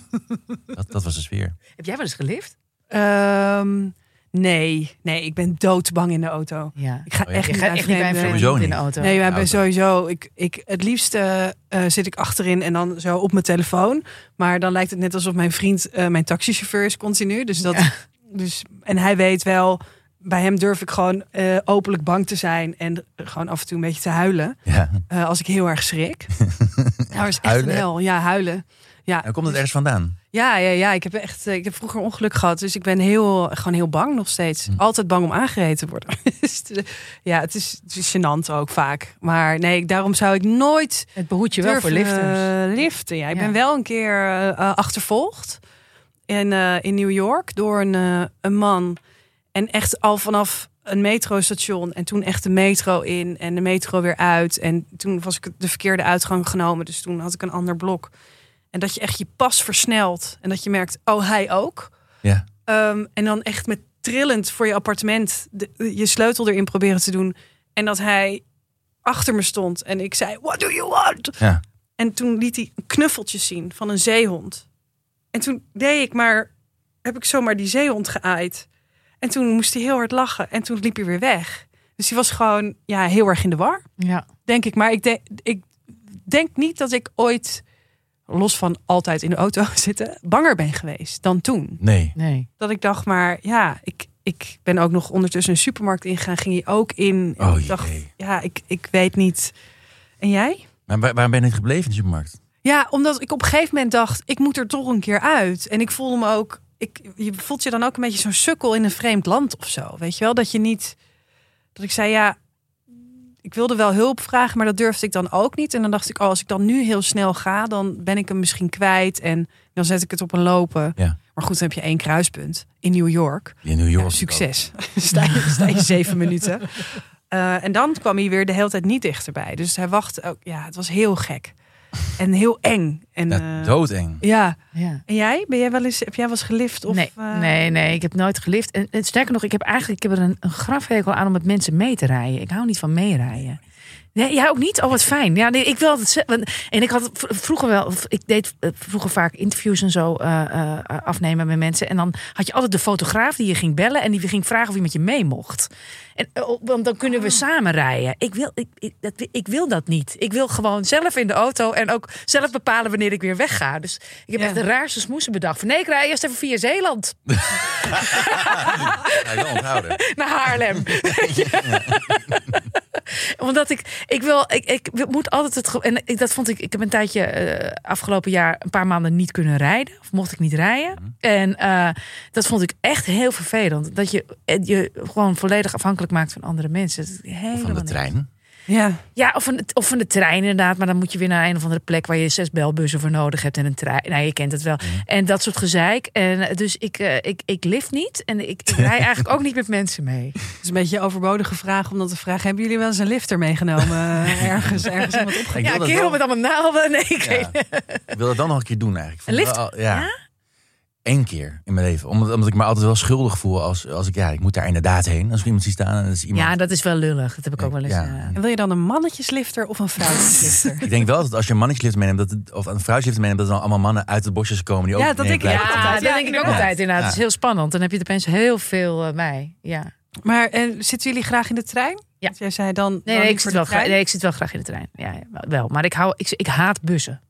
Speaker 1: dat. Dat was de sfeer.
Speaker 2: Heb jij wel eens gelift?
Speaker 3: Ehm, nee, nee, ik ben doodbang in de auto.
Speaker 2: Ja.
Speaker 3: Ik ga
Speaker 1: Oh ja.
Speaker 3: echt
Speaker 2: Je
Speaker 3: niet
Speaker 2: gaat
Speaker 3: naar
Speaker 2: echt niet bij een
Speaker 1: vreemde.
Speaker 2: vreemde
Speaker 3: vreemden.
Speaker 1: Sowieso
Speaker 2: in de
Speaker 1: niet.
Speaker 2: auto.
Speaker 3: Nee, wij ben
Speaker 1: auto.
Speaker 3: sowieso. Ik, ik, het liefst eh, eh, zit ik achterin en dan zo op mijn telefoon. Maar dan lijkt het net alsof mijn vriend eh, mijn taxichauffeur is continu. Dus dat, dus, en hij weet wel, bij hem durf ik gewoon eh, openlijk bang te zijn. En gewoon af en toe een beetje te huilen.
Speaker 1: Ja.
Speaker 3: eh, als ik heel erg schrik. nou, is echt
Speaker 1: Huilen?
Speaker 3: een hel. Ja, huilen. Ja,
Speaker 1: En komt het ergens vandaan?
Speaker 3: ja, ja, ja. Ik heb echt, eh, ik heb vroeger ongeluk gehad, dus ik ben heel, gewoon heel bang nog steeds. Altijd bang om aangereden te worden. Dus, eh, ja, het is, het is gênant ook vaak. Maar nee, ik- daarom zou ik nooit
Speaker 2: Het behoedt je wel
Speaker 3: durven,
Speaker 2: voor lifters.
Speaker 3: eh, liften. Ja, ik
Speaker 2: Ja.
Speaker 3: ben wel een keer eh, eh, achtervolgd in, eh, in New York door een, eh, een man. En echt al vanaf een metrostation en toen echt de metro in en de metro weer uit. En toen was ik de verkeerde uitgang genomen, dus toen had ik een ander blok. En dat je echt je pas versnelt en dat je merkt, oh hij ook.
Speaker 1: Ja.
Speaker 3: Ehm, en dan echt met trillend voor je appartement de- de- je sleutel erin proberen te doen. En dat hij achter me stond en ik zei, what do you want?
Speaker 1: Ja.
Speaker 3: En toen liet hij knuffeltjes zien van een zeehond. En toen deed ik maar, heb ik zomaar die zeehond geaaid. En toen moest hij heel hard lachen en toen liep hij weer weg. Dus hij was gewoon ja, heel erg in de war,
Speaker 2: Ja.
Speaker 3: denk ik. Maar ik, de- ik denk niet dat ik ooit, los van altijd in de auto zitten, banger ben geweest dan toen
Speaker 1: Nee.
Speaker 2: Nee.
Speaker 3: dat ik dacht, maar ja, ik, ik ben ook nog ondertussen een supermarkt ingegaan. Ging hij ook in. En
Speaker 1: Oh,
Speaker 3: ik dacht,
Speaker 1: jee.
Speaker 3: ja, ik, ik weet niet. En jij?
Speaker 1: Maar waar, waarom ben je niet gebleven in de supermarkt?
Speaker 3: Ja, omdat ik op een gegeven moment dacht, ik moet er toch een keer uit. En ik voelde me ook, ik, je voelt je dan ook een beetje zo'n sukkel in een vreemd land of zo. Weet je wel, dat je niet, dat ik zei, ja, ik wilde wel hulp vragen, maar dat durfde ik dan ook niet. En dan dacht ik, oh, als ik dan nu heel snel ga, dan ben ik hem misschien kwijt. En dan zet ik het op een lopen.
Speaker 1: Ja.
Speaker 3: Maar goed, dan heb je één kruispunt in New York.
Speaker 1: In New York.
Speaker 3: Ja, succes. sta, je, sta je zeven minuten. Eh, en dan kwam hij weer de hele tijd niet dichterbij. Dus hij wacht ook. Ja, het was heel gek. En heel eng. En,
Speaker 1: Ja,
Speaker 2: Nou.
Speaker 3: eh,
Speaker 1: doodeng.
Speaker 3: ja.
Speaker 2: Ja.
Speaker 3: En jij? Ben jij wel eens, heb jij wel eens gelift? Of,
Speaker 2: nee,
Speaker 3: eh,
Speaker 2: nee, nee, ik heb nooit gelift. En, en sterker nog, ik heb eigenlijk ik heb er een, een grafhekel aan om met mensen mee te rijden. Ik hou niet van meerijden. Nee, jij ook niet? Oh, wat fijn. Ja, nee, ik wil altijd ze- want- En ik had v- vroeger wel, ik deed eh, vroeger vaak interviews en zo eh, eh, afnemen met mensen. En dan had je altijd de fotograaf die je ging bellen en die ging vragen of je met je mee mocht. En, eh, oh, want dan kunnen
Speaker 1: Ah.
Speaker 2: we samen rijden. Ik wil, ik, ik, dat, ik wil dat niet. Ik wil gewoon zelf in de auto en ook zelf bepalen wanneer ik weer wegga. Dus ik heb
Speaker 3: Ja.
Speaker 2: echt de raarste smoesen bedacht. Van, nee, ik rij eerst even via Zeeland
Speaker 1: Ga je wel onthouden.
Speaker 2: naar Haarlem. Weet je? Omdat ik, ik wil, ik, ik moet altijd het. ge- En ik, dat vond ik, ik heb een tijdje eh, afgelopen jaar een paar maanden niet kunnen rijden. Of mocht ik niet
Speaker 1: Mhm.
Speaker 2: rijden. En eh, dat vond ik echt heel vervelend. Dat je eh, je gewoon volledig afhankelijk maakt van andere mensen. Dat is helemaal
Speaker 1: Van de
Speaker 2: niks.
Speaker 1: trein.
Speaker 3: Ja.
Speaker 2: Ja, of van, de- of van de trein inderdaad. Maar dan moet je weer naar een of andere plek waar je zes belbussen voor nodig hebt en een trein. Nou, je kent het wel.
Speaker 1: Mhm.
Speaker 2: En dat soort gezeik. En eh, dus ik, eh, ik, ik lift niet. En ik, ik rij eigenlijk ook niet met mensen mee.
Speaker 3: Het is een beetje een overbodige vraag om dan te vragen. Hebben jullie wel eens een lifter meegenomen? eh, ergens, ergens iemand opge-
Speaker 1: Ik
Speaker 2: ja,
Speaker 1: wil dat
Speaker 2: kerel
Speaker 1: wel-
Speaker 2: met allemaal naalden. Nee, ik weet
Speaker 1: Ja. Ik wil dat dan nog een keer doen eigenlijk. Ik
Speaker 2: Een
Speaker 1: vond
Speaker 2: lift?
Speaker 1: het wel- ja. Eén keer in mijn leven. Omdat, omdat ik me altijd wel schuldig voel als, als ik, ja, ik moet daar inderdaad heen. Als er iemand ziet staan en dat is iemand.
Speaker 2: Ja, dat is wel lullig. Dat heb ik ook wel eens.
Speaker 1: Ja.
Speaker 2: eh.
Speaker 3: En wil je dan een mannetjeslifter of een vrouwtjeslifter?
Speaker 1: Ik denk wel dat als je een mannetjeslift meeneemt, dat het- of een vrouwtjeslift meeneemt, dat er dan allemaal mannen uit het bosjes komen. Die ook
Speaker 3: Ja, dat
Speaker 1: mee
Speaker 3: denk ik
Speaker 1: blijven.
Speaker 3: ook altijd.
Speaker 2: Ja, dat
Speaker 3: Ja,
Speaker 2: denk ik ook
Speaker 1: inderdaad.
Speaker 2: altijd inderdaad.
Speaker 1: Ja.
Speaker 2: Het is heel spannend. Dan heb je er opeens heel veel eh, bij. Ja.
Speaker 3: maar eh, zitten jullie graag in de trein? Want jij zei dan. dan
Speaker 2: Nee, nee, ik
Speaker 3: liever
Speaker 2: zit
Speaker 3: de
Speaker 2: wel graag,
Speaker 3: trein.
Speaker 2: nee, ik zit wel graag in de trein. Ja, ja, wel. Maar ik, hou, ik, ik haat bussen.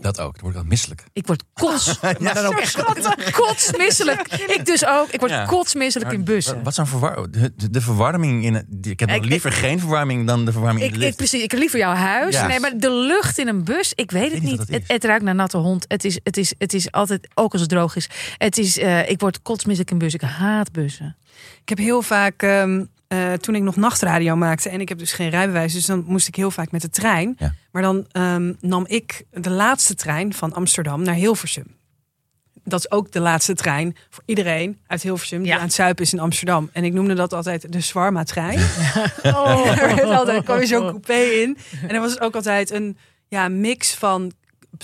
Speaker 1: Dat ook. Dan word ik al misselijk.
Speaker 2: Ik word kots. maar dan ook echt kotsmisselijk. Ik dus ook. Ik word
Speaker 1: Ja.
Speaker 2: kotsmisselijk in
Speaker 1: Wat,
Speaker 2: bussen.
Speaker 1: wat zo'n verwar de, de- de verwarming in het. Ik heb
Speaker 2: Ik-
Speaker 1: nog liever geen verwarming dan de verwarming
Speaker 2: Ik,
Speaker 1: in de
Speaker 2: ik,
Speaker 1: lift.
Speaker 2: precies, ik heb liever jouw huis.
Speaker 1: Ja.
Speaker 2: Nee, maar de lucht in een bus, ik weet het
Speaker 1: weet niet
Speaker 2: niet.
Speaker 1: wat dat
Speaker 2: het,
Speaker 1: is.
Speaker 2: het ruikt naar natte hond. Het is, het, is, het is altijd, ook als het droog is. Het is eh, ik word kotsmisselijk in bussen. Ik haat bussen.
Speaker 3: Ik heb heel vaak, ehm, eh, toen ik nog nachtradio maakte en ik heb dus geen rijbewijs, dus dan moest ik heel vaak met de trein.
Speaker 1: Ja.
Speaker 3: Maar dan ehm, nam ik de laatste trein van Amsterdam naar Hilversum. Dat is ook de laatste trein voor iedereen uit Hilversum die
Speaker 2: Ja.
Speaker 3: aan het zuipen is in Amsterdam. En ik noemde dat altijd de Swarma-trein.
Speaker 2: Oh.
Speaker 3: Er werd altijd, kwam je zo'n coupé in. En er was ook altijd een ja, mix van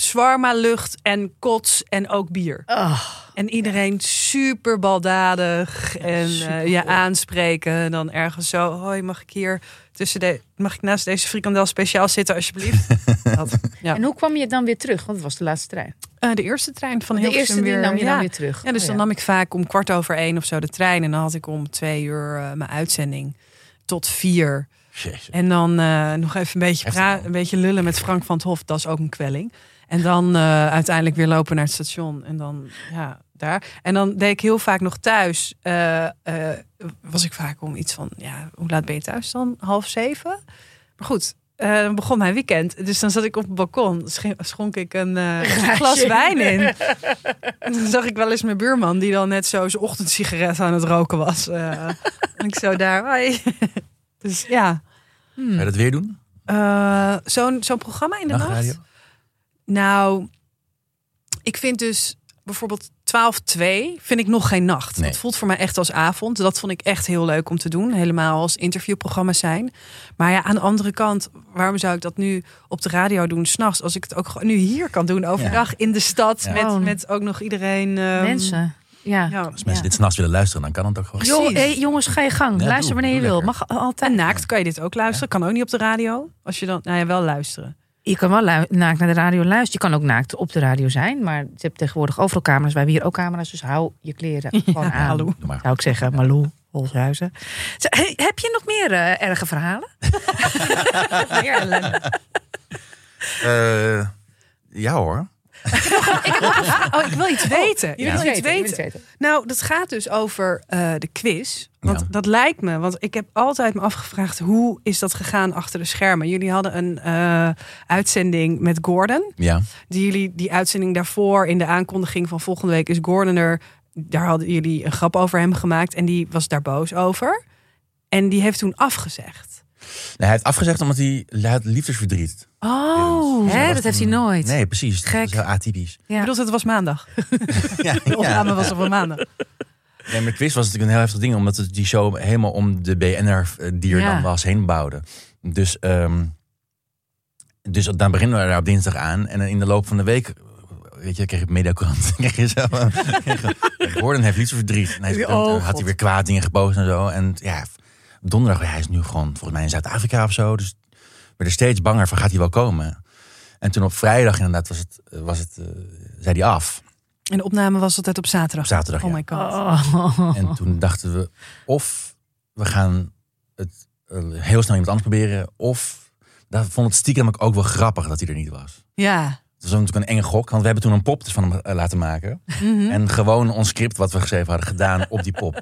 Speaker 3: Swarma-lucht en kots en ook bier.
Speaker 2: Oh.
Speaker 3: En iedereen super baldadig en
Speaker 2: super
Speaker 3: eh, je
Speaker 2: cool.
Speaker 3: aanspreken. En dan ergens zo, hoi, mag ik hier tussen de, mag ik naast deze frikandel speciaal zitten alsjeblieft? Dat. Ja.
Speaker 2: En hoe kwam je dan weer terug? Want het was de laatste trein.
Speaker 3: Eh, de eerste trein van
Speaker 2: de
Speaker 3: Hilversum
Speaker 2: eerste die
Speaker 3: weer,
Speaker 2: nam je
Speaker 3: ja.
Speaker 2: dan weer terug.
Speaker 3: Ja, dus
Speaker 2: Oh,
Speaker 3: dan nam ik vaak om kwart over één of zo de trein. En dan had ik om twee uur eh, mijn uitzending tot vier.
Speaker 1: Jezus.
Speaker 3: En dan eh, nog even een beetje,
Speaker 1: Heftig,
Speaker 3: pra-
Speaker 1: man.
Speaker 3: een beetje lullen met Frank van het Hof. Dat is ook een kwelling. En dan eh, uiteindelijk weer lopen naar het station. En dan, ja, daar. En dan deed ik heel vaak nog thuis. eh, eh, was ik vaak om iets van, ja, hoe laat ben je thuis dan? Half zeven? Maar goed, eh, dan begon mijn weekend. Dus dan zat ik op het balkon. Sche- Schonk ik een eh, glas wijn in. En dan zag ik wel eens mijn buurman, die dan net zo zijn ochtendsigaret aan het roken was. eh. en ik zo daar, hoi. Dus ja.
Speaker 2: Hmm.
Speaker 1: Ga je dat weer doen?
Speaker 3: Eh, zo'n zo'n programma in de
Speaker 1: Nachtradio?
Speaker 3: nacht? Nou, ik vind dus bijvoorbeeld 12 2 vind ik nog geen nacht.
Speaker 1: Nee.
Speaker 3: Dat voelt voor mij echt als avond. Dat vond ik echt heel leuk om te doen. Helemaal als interviewprogramma's zijn. Maar ja, aan de andere kant, waarom zou ik dat nu op de radio doen s'nachts? Als ik het ook gewoon nu hier kan doen, overdag in de stad.
Speaker 1: Ja.
Speaker 3: Met,
Speaker 2: Gewoon.
Speaker 3: met ook nog iedereen.
Speaker 2: ja.
Speaker 3: ehm,
Speaker 2: Mensen. Ja.
Speaker 3: Ja.
Speaker 1: Als mensen
Speaker 2: Ja.
Speaker 1: dit s'nachts willen luisteren, dan kan het ook gewoon.
Speaker 3: Ja.
Speaker 2: Joh,
Speaker 3: precies.
Speaker 2: hey, jongens, ga je gang.
Speaker 1: Ja,
Speaker 2: Luister
Speaker 1: doe,
Speaker 2: wanneer je
Speaker 1: doe
Speaker 2: wil.
Speaker 1: lekker.
Speaker 2: Mag altijd.
Speaker 3: En naakt kan je dit ook luisteren. Kan ook niet op de radio. Als je dan, nou ja, wel luisteren.
Speaker 2: Je kan wel lui- naakt naar de radio luisteren. Je kan ook naakt op de radio zijn. Maar je hebt tegenwoordig overal camera's. Wij hebben hier ook camera's. Dus hou je kleren gewoon aan.
Speaker 3: hallo.
Speaker 1: Doe maar.
Speaker 2: Zou ik zeggen, Malou, Holshuizen. Z- hey, Heb je nog meer eh, erge verhalen?
Speaker 3: Meer ellende.
Speaker 1: Eh, ja hoor.
Speaker 3: Oh, ik wil iets weten.
Speaker 2: Je
Speaker 3: Ik
Speaker 2: wil
Speaker 3: wil
Speaker 2: het
Speaker 3: iets
Speaker 2: je wil
Speaker 3: weten.
Speaker 2: het weten.
Speaker 3: Nou, dat gaat dus over eh, de quiz. Want
Speaker 1: Ja.
Speaker 3: dat lijkt me, want ik heb altijd me afgevraagd hoe is dat gegaan achter de schermen. Jullie hadden een eh, uitzending met Gordon.
Speaker 1: Ja. Nou,
Speaker 3: Die jullie die uitzending daarvoor in de aankondiging van volgende week is Gordon er. Daar hadden jullie een grap over hem gemaakt en die was daar boos over. En die heeft toen afgezegd.
Speaker 1: Nee, hij heeft afgezegd omdat hij, hij had liefdesverdriet.
Speaker 3: Oh,
Speaker 2: Hè, dat
Speaker 1: was
Speaker 2: heeft
Speaker 1: toen-
Speaker 2: hij nooit.
Speaker 1: Nee, precies.
Speaker 2: Gek.
Speaker 1: Dat is heel atypisch.
Speaker 2: Ja.
Speaker 3: ik bedoel, het was maandag.
Speaker 1: Ja,
Speaker 3: De
Speaker 1: ja.
Speaker 3: opname was op een maandag.
Speaker 1: Nee, maar quiz was natuurlijk een heel heftig ding, omdat het die show helemaal om de BNR-dier
Speaker 2: Ja.
Speaker 1: eh, dan was heen bouwde. Dus, ehm, dus dan beginnen we daar op dinsdag aan. En in de loop van de week, weet je, kreeg ik mediakrant. kreeg je zo. Gordon heeft liefdesverdriet. En hij is-
Speaker 2: Oh,
Speaker 1: dan had
Speaker 2: God.
Speaker 1: hij weer kwaad dingen gepost en zo. En ja, donderdag, ja, hij is nu gewoon volgens mij in Zuid-Afrika of zo. Dus ik werd er steeds banger van, gaat hij wel komen? En toen op vrijdag inderdaad was het, was het, eh, zei hij af.
Speaker 3: En de opname was altijd op
Speaker 1: Op
Speaker 3: zaterdag.
Speaker 1: zaterdag, ja.
Speaker 3: Oh my god.
Speaker 2: Oh.
Speaker 1: En toen dachten we, of we gaan het eh, heel snel iemand anders proberen, of daar vond het stiekem ook wel grappig dat hij er niet was.
Speaker 3: Ja.
Speaker 1: Het was natuurlijk een enge gok, want we hebben toen een pop dus van hem eh, laten maken.
Speaker 3: Mhm.
Speaker 1: En gewoon ons script wat we geschreven hadden gedaan op die pop.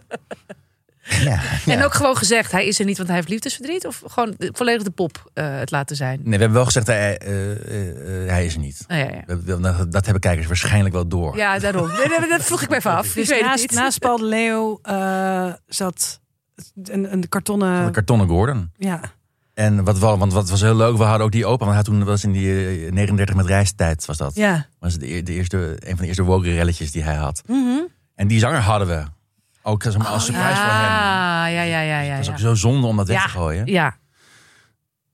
Speaker 1: Ja, ja.
Speaker 2: En ook gewoon gezegd, hij is er niet, want hij heeft liefdesverdriet. Of gewoon de- volledig de pop eh, het laten zijn.
Speaker 1: Nee, we hebben wel gezegd, hij, eh, eh, eh, hij is er niet.
Speaker 2: Oh, ja, ja.
Speaker 1: We- we- Dat, dat hebben kijkers waarschijnlijk wel door.
Speaker 2: ja, daarom. Nee, nee, dat vroeg ik me even af. ik
Speaker 3: Dus
Speaker 2: weet het
Speaker 3: naast,
Speaker 2: niet.
Speaker 3: naast Paul de Leeuw eh, zat een, een
Speaker 1: Van
Speaker 3: kartonnen...
Speaker 1: de kartonnen Gordon.
Speaker 3: ja.
Speaker 1: En wat wel, want wat was heel leuk, we hadden ook die open. Want hij had toen was in die eh, 39 met reistijd was dat.
Speaker 3: ja.
Speaker 1: was de, eer- de eerste, een van de eerste woke relletjes die hij had.
Speaker 3: Mhm. Oh,
Speaker 1: En die zanger hadden we. Ook als, als surprise
Speaker 2: ja.
Speaker 1: voor hem.
Speaker 2: Ah, Ja, ja, ja, ja.
Speaker 1: Dat is ook
Speaker 2: ja.
Speaker 1: zo zonde om dat weg
Speaker 2: Ja.
Speaker 1: te gooien.
Speaker 2: Ja,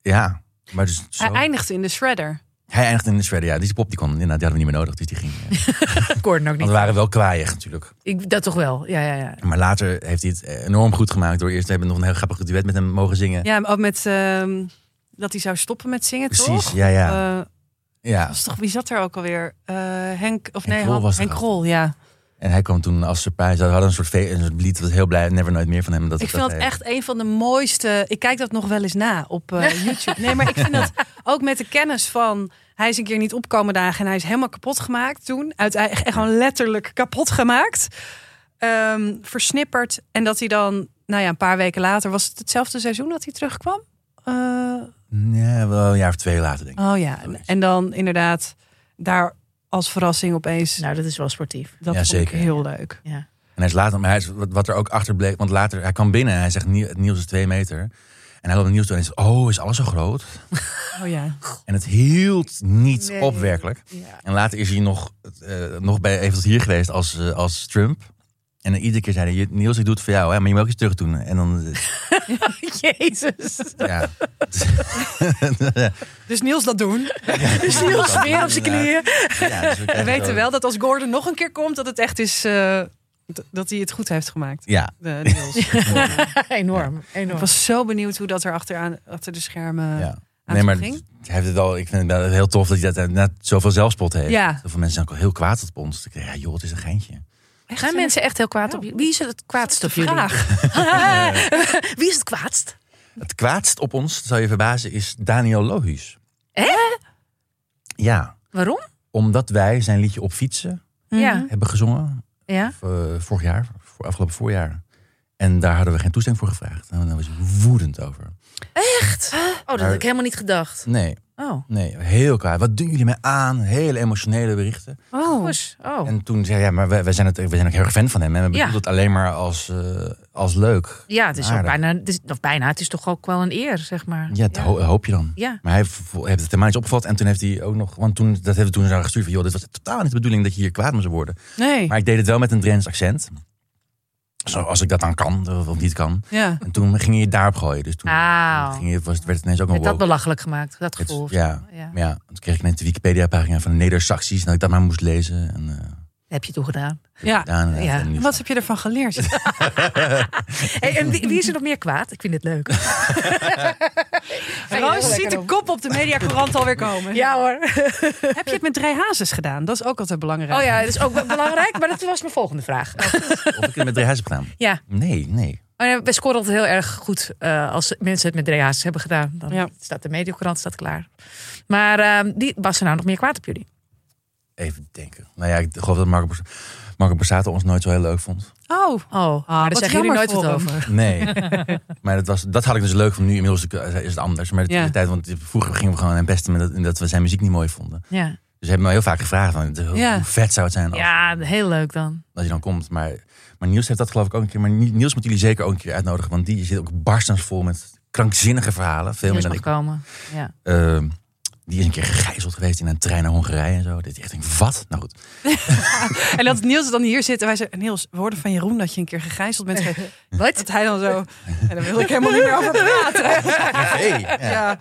Speaker 1: Ja. Maar dus zo-
Speaker 3: Hij
Speaker 1: hij,
Speaker 3: eindigde in de shredder.
Speaker 1: eindigt in de shredder. Ja, die pop die, kon, nou, die hadden we niet meer nodig. Dus die ging. eh.
Speaker 2: Gordon ook
Speaker 1: Want we
Speaker 2: niet.
Speaker 1: waren wel kwaaiig natuurlijk.
Speaker 2: Ik, dat toch wel. Ja, ja, ja.
Speaker 1: Maar later heeft hij het eh, enorm goed gemaakt. Door eerst te hebben we nog een heel grappig duet met hem mogen zingen.
Speaker 3: Ja, maar ook met ehm, dat hij zou stoppen met zingen,
Speaker 1: Precies,
Speaker 3: toch?
Speaker 1: ja, ja.
Speaker 3: Eh,
Speaker 1: ja.
Speaker 3: was toch, wie zat er ook alweer? Eh, Henk, of
Speaker 1: Henk
Speaker 3: nee,
Speaker 1: Krol
Speaker 3: Han-
Speaker 1: was er
Speaker 3: Henk
Speaker 1: ook.
Speaker 3: Krol, ja.
Speaker 1: En hij kwam toen als surprise. We hadden een soort, fe- een soort lied. Dat was heel blij. Never Nooit Meer van hem. Dat,
Speaker 3: Ik vind dat
Speaker 1: hij-
Speaker 3: echt een van de mooiste. Ik kijk dat nog wel eens na op eh, YouTube. Nee, maar ik vind dat ook met de kennis van. Hij is een keer niet opkomen dagen en hij is helemaal kapot gemaakt toen. Uit, echt gewoon letterlijk kapot gemaakt. Ehm, versnipperd. En dat hij dan, nou ja, een paar weken later. Was het hetzelfde seizoen dat hij terugkwam? Eh,
Speaker 1: Ja, wel een jaar of twee later denk ik.
Speaker 3: oh ja. En, en dan inderdaad daar als verrassing opeens.
Speaker 2: Nou, dat is wel sportief.
Speaker 3: dat
Speaker 1: Ja,
Speaker 3: vond
Speaker 1: zeker.
Speaker 3: ik heel leuk.
Speaker 2: Ja.
Speaker 1: En hij is later, maar hij is, wat, wat er ook achter bleek, want later, hij kwam binnen en hij zegt: "Nie- Het nieuws is twee meter. En hij loopt naar Niels toe en hij zegt: Oh, is alles zo groot?
Speaker 3: Oh ja.
Speaker 1: En het hield niet
Speaker 2: Nee.
Speaker 1: op werkelijk.
Speaker 2: ja.
Speaker 1: En later is hij nog, eh, nog bij, even tot hier geweest als, eh, als Trump. En dan iedere keer zei hij: Niels, ik doe het voor jou, hè, maar je moet ook iets terug doen. En dan,
Speaker 2: Jezus.
Speaker 1: eh, ja.
Speaker 3: Dus Niels dat doen.
Speaker 1: dus
Speaker 3: Niels weer op zijn knieën.
Speaker 1: Ja, dus we
Speaker 3: We
Speaker 1: krijgen
Speaker 3: weten
Speaker 1: zo-
Speaker 3: wel dat als Gordon nog een keer komt, dat het echt is eh, d- dat hij het goed heeft gemaakt.
Speaker 1: Ja,
Speaker 3: De Niels.
Speaker 2: enorm,
Speaker 3: Ik
Speaker 2: enorm.
Speaker 3: was zo benieuwd hoe dat er achteraan, achter de
Speaker 1: ja.
Speaker 3: schermen. Eh, aan
Speaker 1: Nee,
Speaker 3: toe
Speaker 1: maar
Speaker 3: ging?
Speaker 1: hij heeft het wel, ik vind het wel heel tof dat hij dat net zoveel zelfspot heeft.
Speaker 3: Ja.
Speaker 1: Zoveel mensen zijn ook wel heel kwaad op ons. Dus Ik denk, Ja, joh, het is een geintje.
Speaker 3: Echt,
Speaker 2: Gaan
Speaker 3: hè?
Speaker 2: mensen echt heel kwaad op je? Wie is het kwaadst op jullie?
Speaker 3: Vraag.
Speaker 2: Wie is het kwaadst?
Speaker 1: Het kwaadst op ons, dat zou je verbazen, is Daniel Lohuus.
Speaker 2: Hè?
Speaker 1: Ja,
Speaker 2: Waarom?
Speaker 1: omdat wij zijn liedje op fietsen
Speaker 2: Ja.
Speaker 1: hebben gezongen.
Speaker 2: Ja.
Speaker 1: eh, vorig jaar, voor, afgelopen voorjaar. En daar hadden we geen toestemming voor gevraagd. En daar was hij woedend over.
Speaker 2: Echt? Oh, dat
Speaker 1: Nou,
Speaker 2: had ik helemaal niet gedacht.
Speaker 1: Nee,
Speaker 2: Oh.
Speaker 1: nee, heel kwaad. Wat doen jullie mij aan? Hele emotionele berichten.
Speaker 3: Oh.
Speaker 2: Oes. Oh.
Speaker 1: En toen zei hij, ja, maar wij, wij zijn het, we zijn ook heel erg fan van hem. En we bedoelen
Speaker 2: Ja.
Speaker 1: het alleen maar als, eh, als leuk.
Speaker 2: Ja, het is ook
Speaker 1: Aardig.
Speaker 2: bijna, het is, of bijna, het is toch ook wel een eer, zeg maar.
Speaker 1: Ja, dat ho- hoop je dan.
Speaker 2: Ja.
Speaker 1: Maar hij vo- heeft het helemaal niet opgevat. En toen heeft hij ook nog... Want toen, dat hebben we toen aan haar gestuurd van... joh, dit was totaal niet de bedoeling dat je hier kwaad om zou worden.
Speaker 3: Nee.
Speaker 1: Maar ik deed het wel met een Drents accent. Zoals ik dat dan kan, of niet kan.
Speaker 3: Ja.
Speaker 1: En toen ging je het daarop gooien. Dus toen
Speaker 2: Auw.
Speaker 1: ging je, was, werd het ineens ook een
Speaker 2: Met dat
Speaker 1: woke.
Speaker 2: belachelijk gemaakt, dat
Speaker 1: Het-
Speaker 2: gevoel. of
Speaker 1: ja,
Speaker 2: zo. ja.
Speaker 1: Maar ja, toen kreeg ik ineens de Wikipedia-pagina van Neder-Saxies. En dat ik dat maar moest lezen. En, eh,
Speaker 2: Heb je toen gedaan.
Speaker 3: ja.
Speaker 1: daarna
Speaker 2: Ja.
Speaker 1: en nu-
Speaker 3: Wat heb je ervan geleerd?
Speaker 2: Hey, en wie, wie is er nog meer kwaad? Ik vind dit leuk.
Speaker 3: Roos ziet de kop op de mediacourant alweer komen.
Speaker 2: Ja hoor.
Speaker 3: Heb je het met Drei Hazes gedaan? Dat is ook altijd belangrijk.
Speaker 2: Oh ja, dat is ook wel belangrijk, maar dat was mijn volgende vraag.
Speaker 1: Of ik het met drie huizen heb gedaan.
Speaker 2: Ja,
Speaker 1: Nee, nee.
Speaker 2: Oh ja, we scoren altijd heel erg goed eh, als mensen het met DA's hebben gedaan. Dan
Speaker 3: Ja.
Speaker 2: staat de mediocrant staat klaar. Maar eh, die, was er nou nog meer kwaad op jullie?
Speaker 1: Even denken. Nou ja, ik geloof dat Marco, Bors- Marco Borsato ons nooit zo heel leuk vond.
Speaker 3: Oh.
Speaker 2: Oh, maar daar
Speaker 3: wat
Speaker 2: zeggen jullie
Speaker 3: jammer
Speaker 2: nooit wat
Speaker 3: voor
Speaker 2: over.
Speaker 1: Nee. maar dat, was, dat had ik dus leuk van nu. Inmiddels is het anders. Maar
Speaker 3: Ja.
Speaker 1: de tijd, want vroeger gingen we gewoon hem pesten met dat, dat we zijn muziek niet mooi vonden.
Speaker 2: Ja.
Speaker 1: Dus ze hebben me heel vaak gevraagd van, hoe
Speaker 3: Ja.
Speaker 1: hoe vet zou het zijn als,
Speaker 2: ja, Nou, heel leuk dan.
Speaker 1: als je dan komt. Maar, maar Niels heeft dat geloof ik ook een keer. Maar Nie- Niels moeten jullie zeker ook een keer uitnodigen. Want die zit ook barstens vol met krankzinnige verhalen. Veel
Speaker 2: Heel
Speaker 1: meer dan
Speaker 2: mag
Speaker 1: ik.
Speaker 2: komen. Ja.
Speaker 1: Ehm, Die is een keer gegijzeld geweest in een trein naar Hongarije en zo. Dit is echt een wat? Nou goed.
Speaker 3: En dat Niels dan hier zit en wij zeggen... Niels, we hoorden van Jeroen dat je een keer gegijzeld bent. geweest."
Speaker 2: Wat?
Speaker 3: Dat hij dan zo... En daar wil ik helemaal niet meer over praten.
Speaker 1: Hey, ja.
Speaker 3: Ja.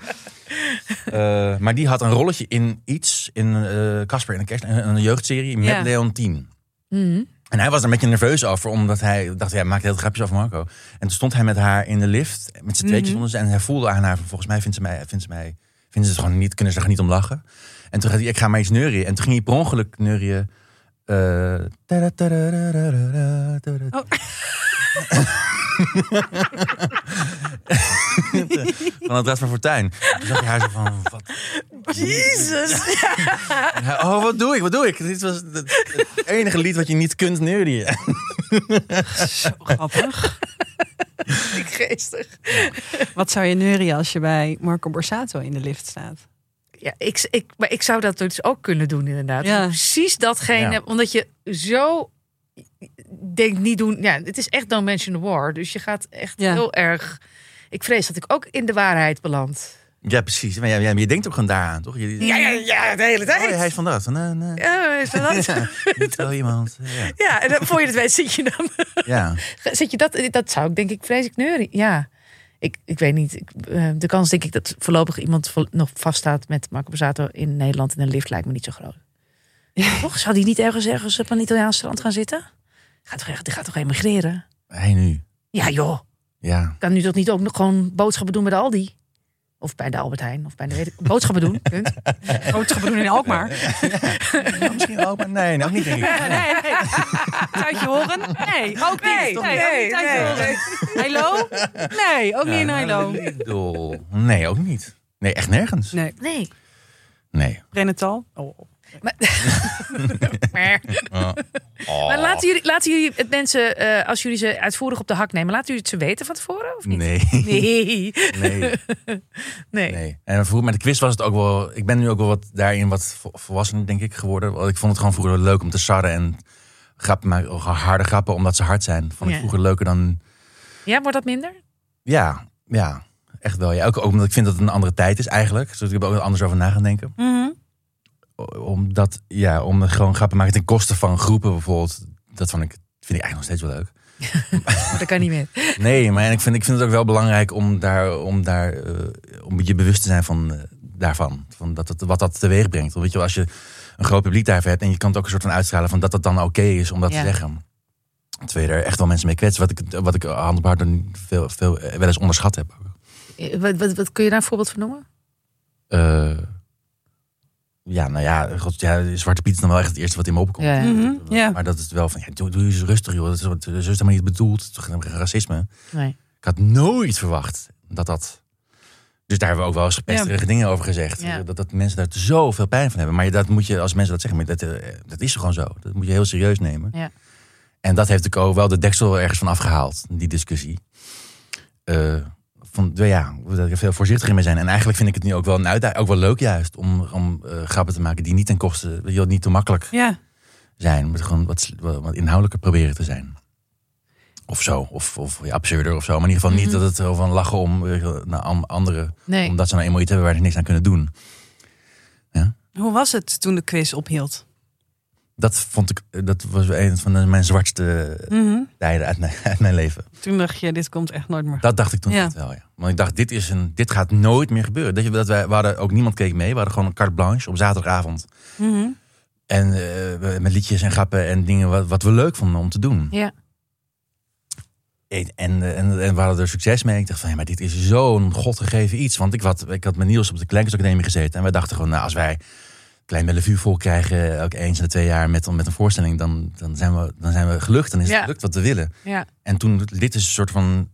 Speaker 1: Eh, maar die had een rolletje in iets, in eh, Casper in de Kerst, een, een jeugdserie met
Speaker 3: Ja.
Speaker 1: Leontien.
Speaker 2: Mhm.
Speaker 1: En hij was er een beetje nerveus over, omdat hij dacht, hij maakt heel grapjes af Marco. En toen stond hij met haar in de lift, met z'n tweetjes
Speaker 3: Mhm.
Speaker 1: onder ze. En hij voelde aan haar, van, volgens mij vindt ze mij, vindt ze mij, vinden ze het gewoon niet, kunnen ze er gewoon niet om lachen. En toen gaat hij, ik ga maar iets neurien. En toen ging hij per ongeluk neurien. eh, tada, tada, tada, tada, tada.
Speaker 3: Oh.
Speaker 1: Van het Rad van Fortuin. Toen zag je haar zo van, wat
Speaker 2: Jezus.
Speaker 1: en hij, Oh, wat doe ik? Wat doe ik? Dit was het het enige lied wat je niet kunt neurien.
Speaker 3: Zo grappig.
Speaker 2: Geestig.
Speaker 3: Wat zou je neurien als je bij Marco Borsato in de lift staat?
Speaker 2: Ja, ik, ik, maar ik zou dat dus ook kunnen doen, inderdaad.
Speaker 3: Ja.
Speaker 2: Precies datgene,
Speaker 1: Ja.
Speaker 2: omdat je zo denkt niet doen. Ja, het is echt No Mention the War. Dus je gaat echt
Speaker 3: Ja.
Speaker 2: heel erg. Ik vrees dat ik ook in de waarheid beland.
Speaker 1: Ja, precies. Maar, ja, ja, maar je denkt ook gewoon daaraan, toch? Je,
Speaker 2: Ja, ja, ja, de hele tijd.
Speaker 1: Oh, hij is van dat. Nee, nee.
Speaker 2: Ja, Oh, is dat-
Speaker 1: Ja, niet zo iemand. Ja.
Speaker 2: Ja, en dan, voor je het weet zit je dan.
Speaker 1: ja.
Speaker 2: Zit je dat, dat zou ik denk ik vrees ik neurie. Ja, ik, ik weet niet. Ik, eh, de kans denk ik dat voorlopig iemand vo- nog vaststaat met Marco Borsato in Nederland in een lift lijkt me niet zo groot. Toch? Zou die niet ergens ergens op een Italiaans strand gaan zitten? Gaat toch, echt- die gaat toch emigreren?
Speaker 1: Hij nu.
Speaker 2: Ja joh,
Speaker 1: Ja.
Speaker 2: kan nu toch niet ook nog gewoon boodschappen doen bij de Aldi? Of bij de Albert Heijn, of bij de weet ik, boodschappen doen. punt.
Speaker 3: Grootste bedoeling in Alkmaar.
Speaker 1: Ja, misschien ook, maar nee, nou ook niet denk ik.
Speaker 3: Nee, nee. Tuitje horen? Nee, ook
Speaker 2: Nee,
Speaker 3: niet.
Speaker 2: nee,
Speaker 3: ook niet Tuitje
Speaker 2: nee.
Speaker 3: horen. Heilo? Nee, ook niet in Heilo.
Speaker 1: Lidl. nou, Nee, ook niet. Nee, echt nergens.
Speaker 3: Nee.
Speaker 2: Nee.
Speaker 1: Nee.
Speaker 3: Renatal? Oh.
Speaker 2: Maar,
Speaker 1: Oh.
Speaker 2: maar laten, jullie, laten jullie het mensen, eh, als jullie ze uitvoerig op de hak nemen, laten jullie het ze weten van tevoren? Of niet?
Speaker 1: Nee.
Speaker 2: Nee.
Speaker 1: Nee.
Speaker 2: Nee.
Speaker 1: Nee. En vroeger met de quiz was het ook wel. Ik ben nu ook wel wat daarin wat vo- volwassener, denk ik, geworden. Want ik vond het gewoon vroeger leuk om te sarren en grappen maken, oh, harde grappen, omdat ze hard zijn. Vond ik
Speaker 2: Ja.
Speaker 1: vroeger leuker dan.
Speaker 2: Ja, wordt dat minder?
Speaker 1: Ja, ja, echt wel. Ja. Ook, ook omdat ik vind dat het een andere tijd is eigenlijk. Dus ik heb er ook anders over na gaan denken.
Speaker 3: Mhm,
Speaker 1: O- Omdat, ja, om gewoon grappen maken ten koste van groepen bijvoorbeeld. Dat vond ik, vind ik eigenlijk nog steeds wel leuk.
Speaker 2: Oh, Dat kan niet meer.
Speaker 1: Nee, maar en ik, vind, ik vind het ook wel belangrijk om, daar, om, daar, eh, om je bewust te zijn van, eh, daarvan. Van dat, het- wat dat teweeg brengt. Want Weet je wel, als je een groot publiek daarvoor hebt en je kan het ook een soort van uitstralen van dat dat dan oké is om dat
Speaker 2: Ja.
Speaker 1: te zeggen. Terwijl je er echt wel mensen mee kwetst. Wat ik, wat ik hand op hart dan veel, veel, eh, wel eens onderschat heb.
Speaker 2: Eh, Wat, wat, wat kun je daar een voorbeeld van noemen?
Speaker 1: Eh, ja, nou ja, god, ja, Zwarte Piet is dan wel echt het eerste wat in me opkomt.
Speaker 2: Ja.
Speaker 3: Mhm, ja.
Speaker 1: Maar dat is wel van, ja, doe, doe eens rustig joh. Dat is, dat is helemaal niet bedoeld. Het is toch geen racisme.
Speaker 2: Nee.
Speaker 1: Ik had nooit verwacht dat dat. Dus daar hebben we ook wel eens pesterige dingen over gezegd.
Speaker 2: Ja.
Speaker 1: Dat, dat mensen daar zoveel pijn van hebben. Maar dat moet je als mensen dat zeggen, maar dat, eh, dat is gewoon zo. Dat moet je heel serieus nemen.
Speaker 2: Ja.
Speaker 1: En dat heeft de co wel de deksel ergens van afgehaald, die discussie. Eh, van, nou ja, dat er veel voorzichtig in mee zijn. En eigenlijk vind ik het nu ook wel een uitdaging. Ook wel leuk juist om, om eh, grappen te maken die niet ten koste, weet je wel, niet te makkelijk
Speaker 3: Ja.
Speaker 1: zijn. Maar gewoon wat, wat wat inhoudelijker proberen te zijn. Of zo. Of, of ja, absurder of zo. Maar in ieder geval niet
Speaker 2: Mhm.
Speaker 1: dat het over een lachen om weet je wel, naar am- anderen.
Speaker 2: Nee.
Speaker 1: Omdat ze nou eenmaal iets hebben waar ze niks aan kunnen doen.
Speaker 3: Hoe was het toen de quiz ophield?
Speaker 1: Dat vond ik, eh, dat was een van de- mijn zwartste tijden uit mijn, uit mijn leven.
Speaker 3: Mhm. Toen dacht je, dit komt echt nooit meer.
Speaker 1: Dat dacht ik toen
Speaker 3: Ja.
Speaker 1: echt wel, ja. Want ik dacht, dit, is een, dit gaat nooit meer gebeuren. Dat je, dat wij, we hadden ook niemand keek mee. We hadden gewoon een carte blanche op zaterdagavond.
Speaker 3: Mhm.
Speaker 1: En eh, we- met liedjes en grappen en dingen wat, wat we leuk vonden om te doen.
Speaker 2: Ja.
Speaker 1: En, en, eh, en, en we hadden er succes mee. Ik dacht van, ja, maar dit is zo'n godgegeven iets. Want ik, wat, ik had met Niels op de Kleinkunstacademie gezeten. En wij dachten gewoon, nou, als wij Klein Bellevue vol krijgen... ook eens in de twee jaar met, met een voorstelling... Dan, dan, zijn we, dan zijn we gelukt. Dan is
Speaker 2: Ja.
Speaker 1: het gelukt wat we willen.
Speaker 2: Ja.
Speaker 1: En toen, dit is een soort van,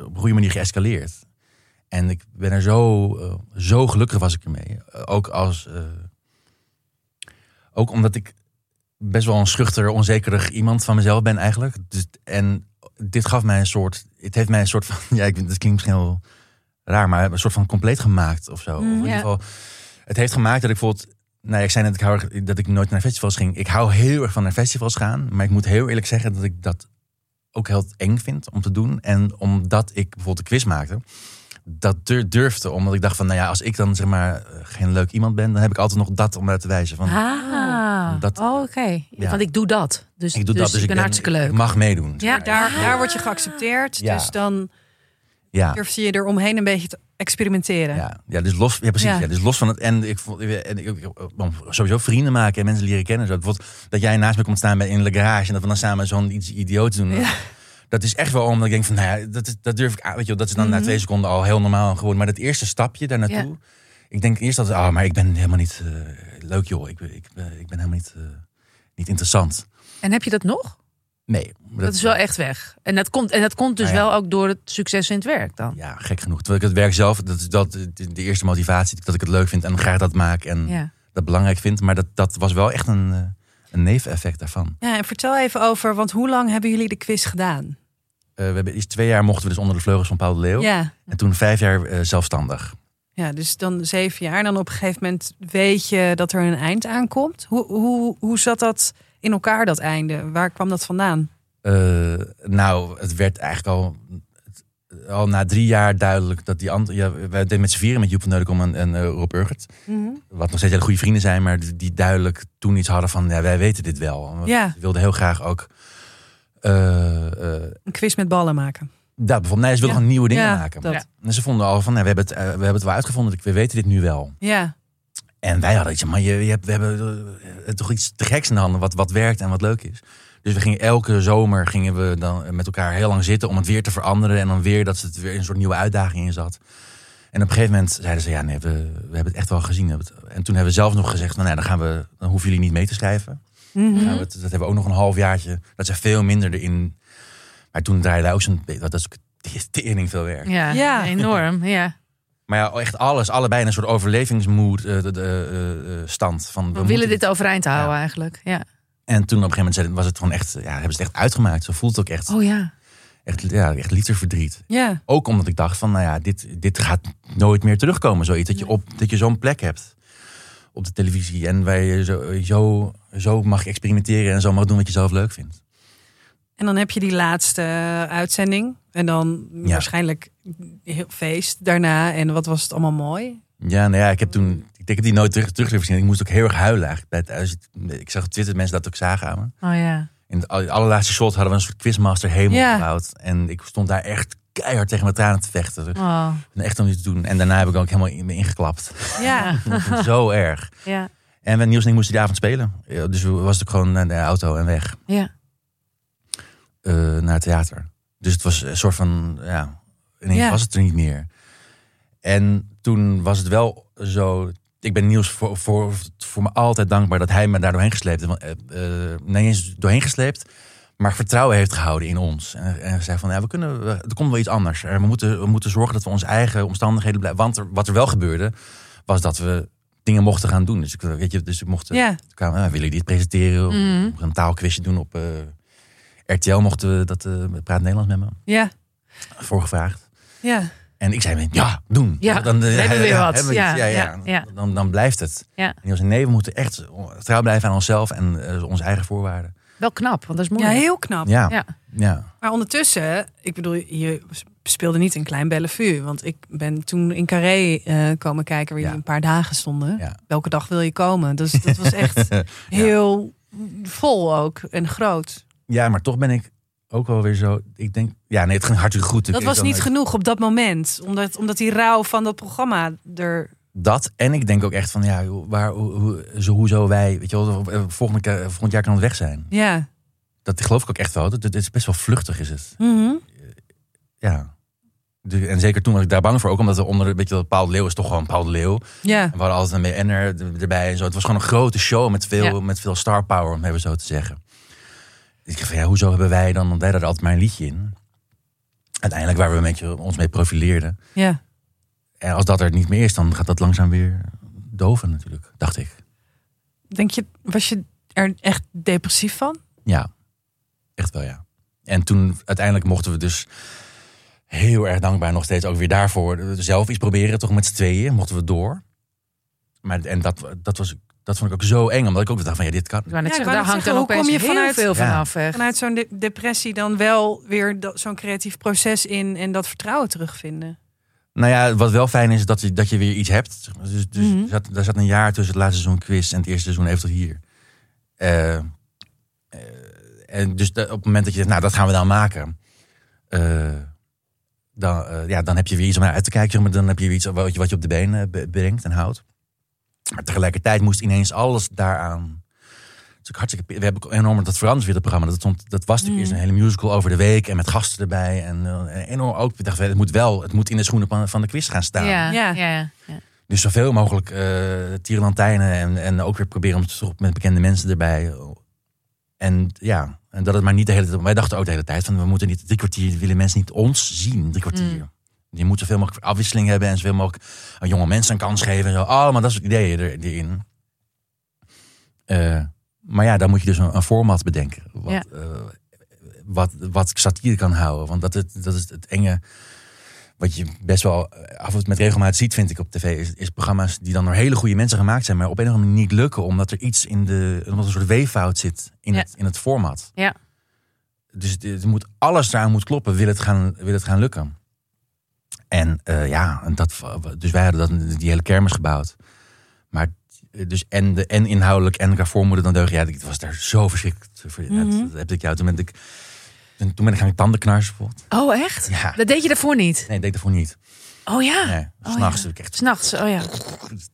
Speaker 1: op een goede manier geëscaleerd. En ik ben er zo, eh, zo gelukkig was ik ermee. Eh, ook als, eh, ook omdat ik best wel een schuchter, onzekerig iemand van mezelf ben eigenlijk. Dus, en dit gaf mij een soort, het heeft mij een soort van, ja, ik, dat klinkt misschien heel raar, maar een soort van compleet gemaakt of zo.
Speaker 3: Mm,
Speaker 1: Of in ieder
Speaker 2: ja.
Speaker 1: geval, het heeft gemaakt dat ik bijvoorbeeld nou, ja, ik zei net ik hou erg- dat ik nooit naar festivals ging. Ik hou heel erg van naar festivals gaan. Maar ik moet heel eerlijk zeggen dat ik dat ook heel eng vind om te doen. En omdat ik bijvoorbeeld de quiz maakte, dat dur- durfde. Omdat ik dacht van, nou ja, als ik dan zeg maar eh, geen leuk iemand ben, dan heb ik altijd nog dat om naar te wijzen. Van,
Speaker 4: Ah,
Speaker 1: Dat-
Speaker 4: oh, oké.
Speaker 1: Ja.
Speaker 4: Want ik doe dat. Dus,
Speaker 1: ik doe
Speaker 4: dus
Speaker 1: dat, dus
Speaker 4: ik ben,
Speaker 1: ben-
Speaker 4: hartstikke leuk.
Speaker 1: ik mag meedoen.
Speaker 3: Ja, daar,
Speaker 4: Ah.
Speaker 3: daar word je geaccepteerd.
Speaker 1: Ja.
Speaker 3: Dus dan
Speaker 1: Ja.
Speaker 3: durf je eromheen een beetje te experimenteren.
Speaker 1: Ja, ja, dus los, ja, precies,
Speaker 3: Ja.
Speaker 1: ja. dus los van het. En ik vond en ik, ik- om sowieso vrienden maken en mensen leren kennen. en Zo. Bijvoorbeeld dat jij naast me komt staan bij, in de garage en dat we dan samen zo'n iets idioots doen. Dat is echt wel omdat ik denk van, nou ja, dat, is- dat durf ik aan. Weet je, wel, dat is dan na twee seconden al heel normaal geworden. Maar dat eerste stapje daar naartoe. Ik denk eerst dat, ah maar ik ben helemaal niet eh, leuk, joh. Ik, ben- ik, ben- ik ben helemaal niet, eh, niet interessant.
Speaker 2: En heb je dat nog?
Speaker 1: Nee. maar
Speaker 2: Dat is wel echt weg. En dat komt, en dat komt dus
Speaker 1: Nou ja.
Speaker 2: wel ook door het succes in het werk dan.
Speaker 1: Ja, gek genoeg. Terwijl ik het werk zelf, dat is dat, de de eerste motivatie. Dat ik het leuk vind en graag dat maak. En
Speaker 2: Ja.
Speaker 1: dat belangrijk vindt. Maar dat, dat was wel echt een, eh, een neveneffect daarvan.
Speaker 3: Ja, en vertel even over, want hoe lang hebben jullie de quiz gedaan?
Speaker 1: Eh, we hebben iets twee jaar mochten we dus onder de vleugels van Paul de Leeuw.
Speaker 3: Ja.
Speaker 1: En toen vijf jaar eh, zelfstandig.
Speaker 3: ja, dus dan zeven jaar. En dan op een gegeven moment weet je dat er een eind aankomt. Hoe, hoe, hoe zat dat in elkaar, dat einde? Waar kwam dat vandaan?
Speaker 1: Eh, nou, het werd eigenlijk al, al na drie jaar duidelijk dat die andere. Ja, wij deden met z'n vieren, met Joep van Neudekom en, en eh, Rob Urgert.
Speaker 3: Mhm.
Speaker 1: Wat nog steeds hele goede vrienden zijn, maar die, die duidelijk toen iets hadden van: ja, wij weten dit wel. We
Speaker 3: Ja,
Speaker 1: wilden heel graag ook. eh, eh,
Speaker 3: een quiz met ballen maken.
Speaker 1: daar bijvoorbeeld, nee, ze wilden gewoon nieuwe dingen
Speaker 3: Ja,
Speaker 1: maken.
Speaker 3: dat.
Speaker 2: Ja.
Speaker 1: En ze vonden al van, nee, we, hebben het, eh, we hebben het wel uitgevonden, we weten dit nu wel.
Speaker 3: Ja,
Speaker 1: En wij hadden iets, maar je, je hebt, we hebben eh, toch iets te geks in de handen wat, wat werkt en wat leuk is. Dus we gingen elke zomer gingen we dan eh, met elkaar heel lang zitten om het weer te veranderen. En dan weer dat het weer een soort nieuwe uitdaging in zat. En op een gegeven moment zeiden ze, ja nee, we, we hebben het echt wel gezien. We hebben het- En toen hebben we zelf nog gezegd, nou, nee, dan, gaan we, dan hoeven jullie niet mee te schrijven.
Speaker 3: Mhm.
Speaker 1: Dan gaan we het- dat hebben we ook nog een halfjaartje. Dat zijn veel minder erin. Maar toen draaide hij ook zo'n, dat is ook tering veel werk.
Speaker 2: Ja,
Speaker 3: Ja.
Speaker 2: enorm. Ja.
Speaker 1: Maar ja, echt alles, allebei in een soort overlevingsmoed eh, de- de, eh, eh, stand. Van,
Speaker 2: We,
Speaker 1: moeten
Speaker 2: willen dit overeind houden eigenlijk. Ja.
Speaker 1: En toen op een gegeven moment zeiden- was het gewoon echt, ja, hebben ze het echt uitgemaakt. Zo voelt het ook echt,
Speaker 2: Oh ja.
Speaker 1: echt, ja, echt literverdriet.
Speaker 3: ja.
Speaker 1: Ook omdat ik dacht van, nou ja, dit, dit gaat nooit meer terugkomen. Zoiets, dat je, op, dat je zo'n plek hebt op de televisie. En waar je zo, zo, zo mag experimenteren en zo mag doen wat je zelf leuk vindt.
Speaker 3: En dan heb je die laatste eh, uitzending. En dan
Speaker 1: Ja.
Speaker 3: waarschijnlijk heel feest daarna. En wat was het allemaal mooi.
Speaker 1: Ja, nou ja, ik heb toen, ik denk dat die nooit terug, terug durf te zien. Ik moest ook heel erg huilen eigenlijk. Bij het, als ik- ik zag op Twitter dat mensen dat ook zagen aan me.
Speaker 2: Oh ja.
Speaker 1: In het al- allerlaatste shot hadden we een soort quizmaster hemel
Speaker 3: Ja.
Speaker 1: gebouwd. En ik stond daar echt keihard tegen mijn tranen te vechten. Dus
Speaker 2: Oh,
Speaker 1: Echt om dit te doen. En daarna heb ik ook helemaal in me ingeklapt.
Speaker 3: Ja,
Speaker 1: Ik vond het zo erg.
Speaker 2: ja.
Speaker 1: En we- Niels en ik moesten die avond spelen. Ja, Dus we- was het gewoon naar de auto en weg
Speaker 2: Ja.
Speaker 1: eh, naar het theater. Dus het was een soort van, ja, ineens
Speaker 3: Ja.
Speaker 1: was het er niet meer. En toen was het wel zo... Ik ben Niels voor, voor, voor me altijd dankbaar dat hij me daar doorheen gesleept heeft. Want, eh, eh, nee, niet eens doorheen gesleept, maar vertrouwen heeft gehouden in ons. En, en zei van, ja, we kunnen, we- er komt wel iets anders. Eh, We moeten, we moeten zorgen dat we onze eigen omstandigheden blijven. Want er, wat er wel gebeurde, was dat we dingen mochten gaan doen. Dus ik, weet je, dus ik mocht...
Speaker 3: ja.
Speaker 1: Toen kwamen we, "Ah, willen jullie dit presenteren? Of
Speaker 2: Mhm.
Speaker 1: we gaan een taalquizje doen op eh, RTL. Mochten we dat eh, praat Nederlands met me
Speaker 3: ja.
Speaker 1: voorgevraagd.
Speaker 3: ja.
Speaker 1: En ik zei, ja, doen.
Speaker 2: Ja,
Speaker 1: dan, eh,
Speaker 2: we hebben weer wat.
Speaker 1: hebben we
Speaker 2: Ja,
Speaker 1: iets. ja, ja,
Speaker 2: ja, ja.
Speaker 1: Dan, dan blijft het.
Speaker 2: Ja.
Speaker 1: En ik zei, nee, we moeten echt trouw blijven aan onszelf en eh, onze eigen voorwaarden.
Speaker 2: Wel knap, want dat is
Speaker 3: Ja,
Speaker 2: moeilijk.
Speaker 3: heel knap.
Speaker 1: Ja,
Speaker 2: Ja.
Speaker 1: ja.
Speaker 3: Maar ondertussen, ik bedoel, je speelde niet in Klein Bellevue. Want ik ben toen in Carré eh, komen kijken waar
Speaker 1: Ja.
Speaker 3: jullie een paar dagen stonden.
Speaker 1: Ja.
Speaker 3: Welke dag wil je komen? Dus dat was echt heel vol ook en groot.
Speaker 1: Ja, maar toch ben ik ook wel weer zo... Ik denk, ja, nee, het ging hartstikke goed.
Speaker 3: Dat
Speaker 1: Ik-
Speaker 3: was
Speaker 1: dan-
Speaker 3: niet genoeg op dat moment. Omdat, omdat die rouw van dat programma er...
Speaker 1: Dat en ik denk ook echt van, ja, waar, hoe, hoe- zo, hoezo wij... Weet je wel, eh, volgende, keer- volgend jaar kan het weg zijn.
Speaker 3: Ja.
Speaker 1: Dat geloof ik ook echt wel. Dat- Het is best wel vluchtig is het.
Speaker 3: Mhm.
Speaker 1: Ja. De- En zeker toen was ik daar bang voor. Ook omdat we onder een beetje dat Paul de Leeuw is toch gewoon Paul de Leeuw. En
Speaker 3: Ja.
Speaker 1: we hadden altijd een BN'er er- erbij en zo. Het was gewoon een grote show met veel,
Speaker 2: Ja.
Speaker 1: met veel star power, om even zo te zeggen. Dus ik dacht van ja, hoezo hebben wij dan, want wij hadden er altijd maar een liedje in. Uiteindelijk waar we een beetje ons mee profileerden.
Speaker 3: Ja.
Speaker 1: En als dat er niet meer is, dan gaat dat langzaam weer doven natuurlijk, dacht ik.
Speaker 3: Denk je, was je er echt depressief van?
Speaker 1: Ja, echt wel ja. En toen uiteindelijk mochten we dus heel erg dankbaar nog steeds ook weer daarvoor eh, zelf iets proberen. Toch met z'n tweeën mochten we door. Maar en dat, dat, was, dat vond ik ook zo eng, omdat ik ook dacht van ja, dit kan.
Speaker 2: Ik wou net
Speaker 3: Ja, ik
Speaker 2: zeggen,
Speaker 3: wou
Speaker 2: daar hangt
Speaker 3: net
Speaker 2: dan
Speaker 3: zeggen,
Speaker 2: opeens
Speaker 3: hoe kom je
Speaker 2: heel
Speaker 3: vanuit-
Speaker 2: veel van
Speaker 1: Ja.
Speaker 2: af. echt.
Speaker 3: Vanuit zo'n de- depressie dan wel weer dat- zo'n creatief proces in en dat vertrouwen terugvinden.
Speaker 1: Nou ja, wat wel fijn is, dat je, dat je weer iets hebt. Dus, dus
Speaker 3: Mhm.
Speaker 1: zat, daar zat een jaar tussen het laatste seizoen quiz en het eerste seizoen even tot hier. Eh, eh, en dus da- op het moment dat je zegt, nou, dat gaan we dan maken. eh, dan, eh, ja, dan heb je weer iets om naar uit te kijken. zeg Maar dan heb je weer iets wat je, wat je op de been eh, be- brengt en houdt. Maar tegelijkertijd moest ineens alles daaraan... Het is ook hartstikke, we hebben ook enorm dat veranderd weer het programma. Dat, stond, dat was natuurlijk eerst een hele musical over de week en met gasten erbij. En eh, enorm ook, we dachten, het moet wel, het moet in de schoenen van, van de quiz gaan staan.
Speaker 2: Ja,
Speaker 3: Ja.
Speaker 2: ja. ja, ja.
Speaker 1: Dus zoveel mogelijk eh tierenlantijnen en, en ook weer proberen om te zoeken met bekende mensen erbij. En ja, en dat het maar niet de hele tijd... Wij dachten ook de hele tijd van, we moeten niet drie kwartier, willen mensen niet ons zien, drie kwartier. Je moet zoveel mogelijk afwisseling hebben en zoveel mogelijk aan jonge mensen een kans geven. En zo. Allemaal dat soort ideeën er, erin. Eh, maar ja, dan moet je dus een, een format bedenken. Wat,
Speaker 2: Ja.
Speaker 1: eh, wat, wat satire kan houden. Want dat, is- dat is het enge. Wat je best wel eh, af en toe met regelmaat ziet, vind ik op tv. Is, is programma's die dan door hele goede mensen gemaakt zijn. Maar op een of andere manier niet lukken. Omdat er iets in de. Omdat er een soort weeffout zit in,
Speaker 2: Ja.
Speaker 1: het, in het format.
Speaker 2: Ja.
Speaker 1: Dus het, het moet, alles eraan moet kloppen. Wil het gaan, wil het gaan lukken. En eh, ja, en dat, dus wij hadden dat, die hele kermis gebouwd. Maar eh, dus en, de, en inhoudelijk en qua voormoeder dan deugen. Ja, ik was daar zo verschrikkelijk voor.
Speaker 3: Mhm.
Speaker 1: Dat heb ik jou. Toen ben ik, toen toen ben ik gaan tandenknarsen bijvoorbeeld.
Speaker 2: Oh, echt?
Speaker 1: Ja.
Speaker 2: Dat deed je daarvoor niet?
Speaker 1: Nee, ik deed daarvoor niet.
Speaker 2: Oh ja.
Speaker 1: Nee,
Speaker 2: Oh,
Speaker 1: s'nachts
Speaker 2: ja. Oh.
Speaker 1: heb ik echt
Speaker 2: S'nachts, oh ja.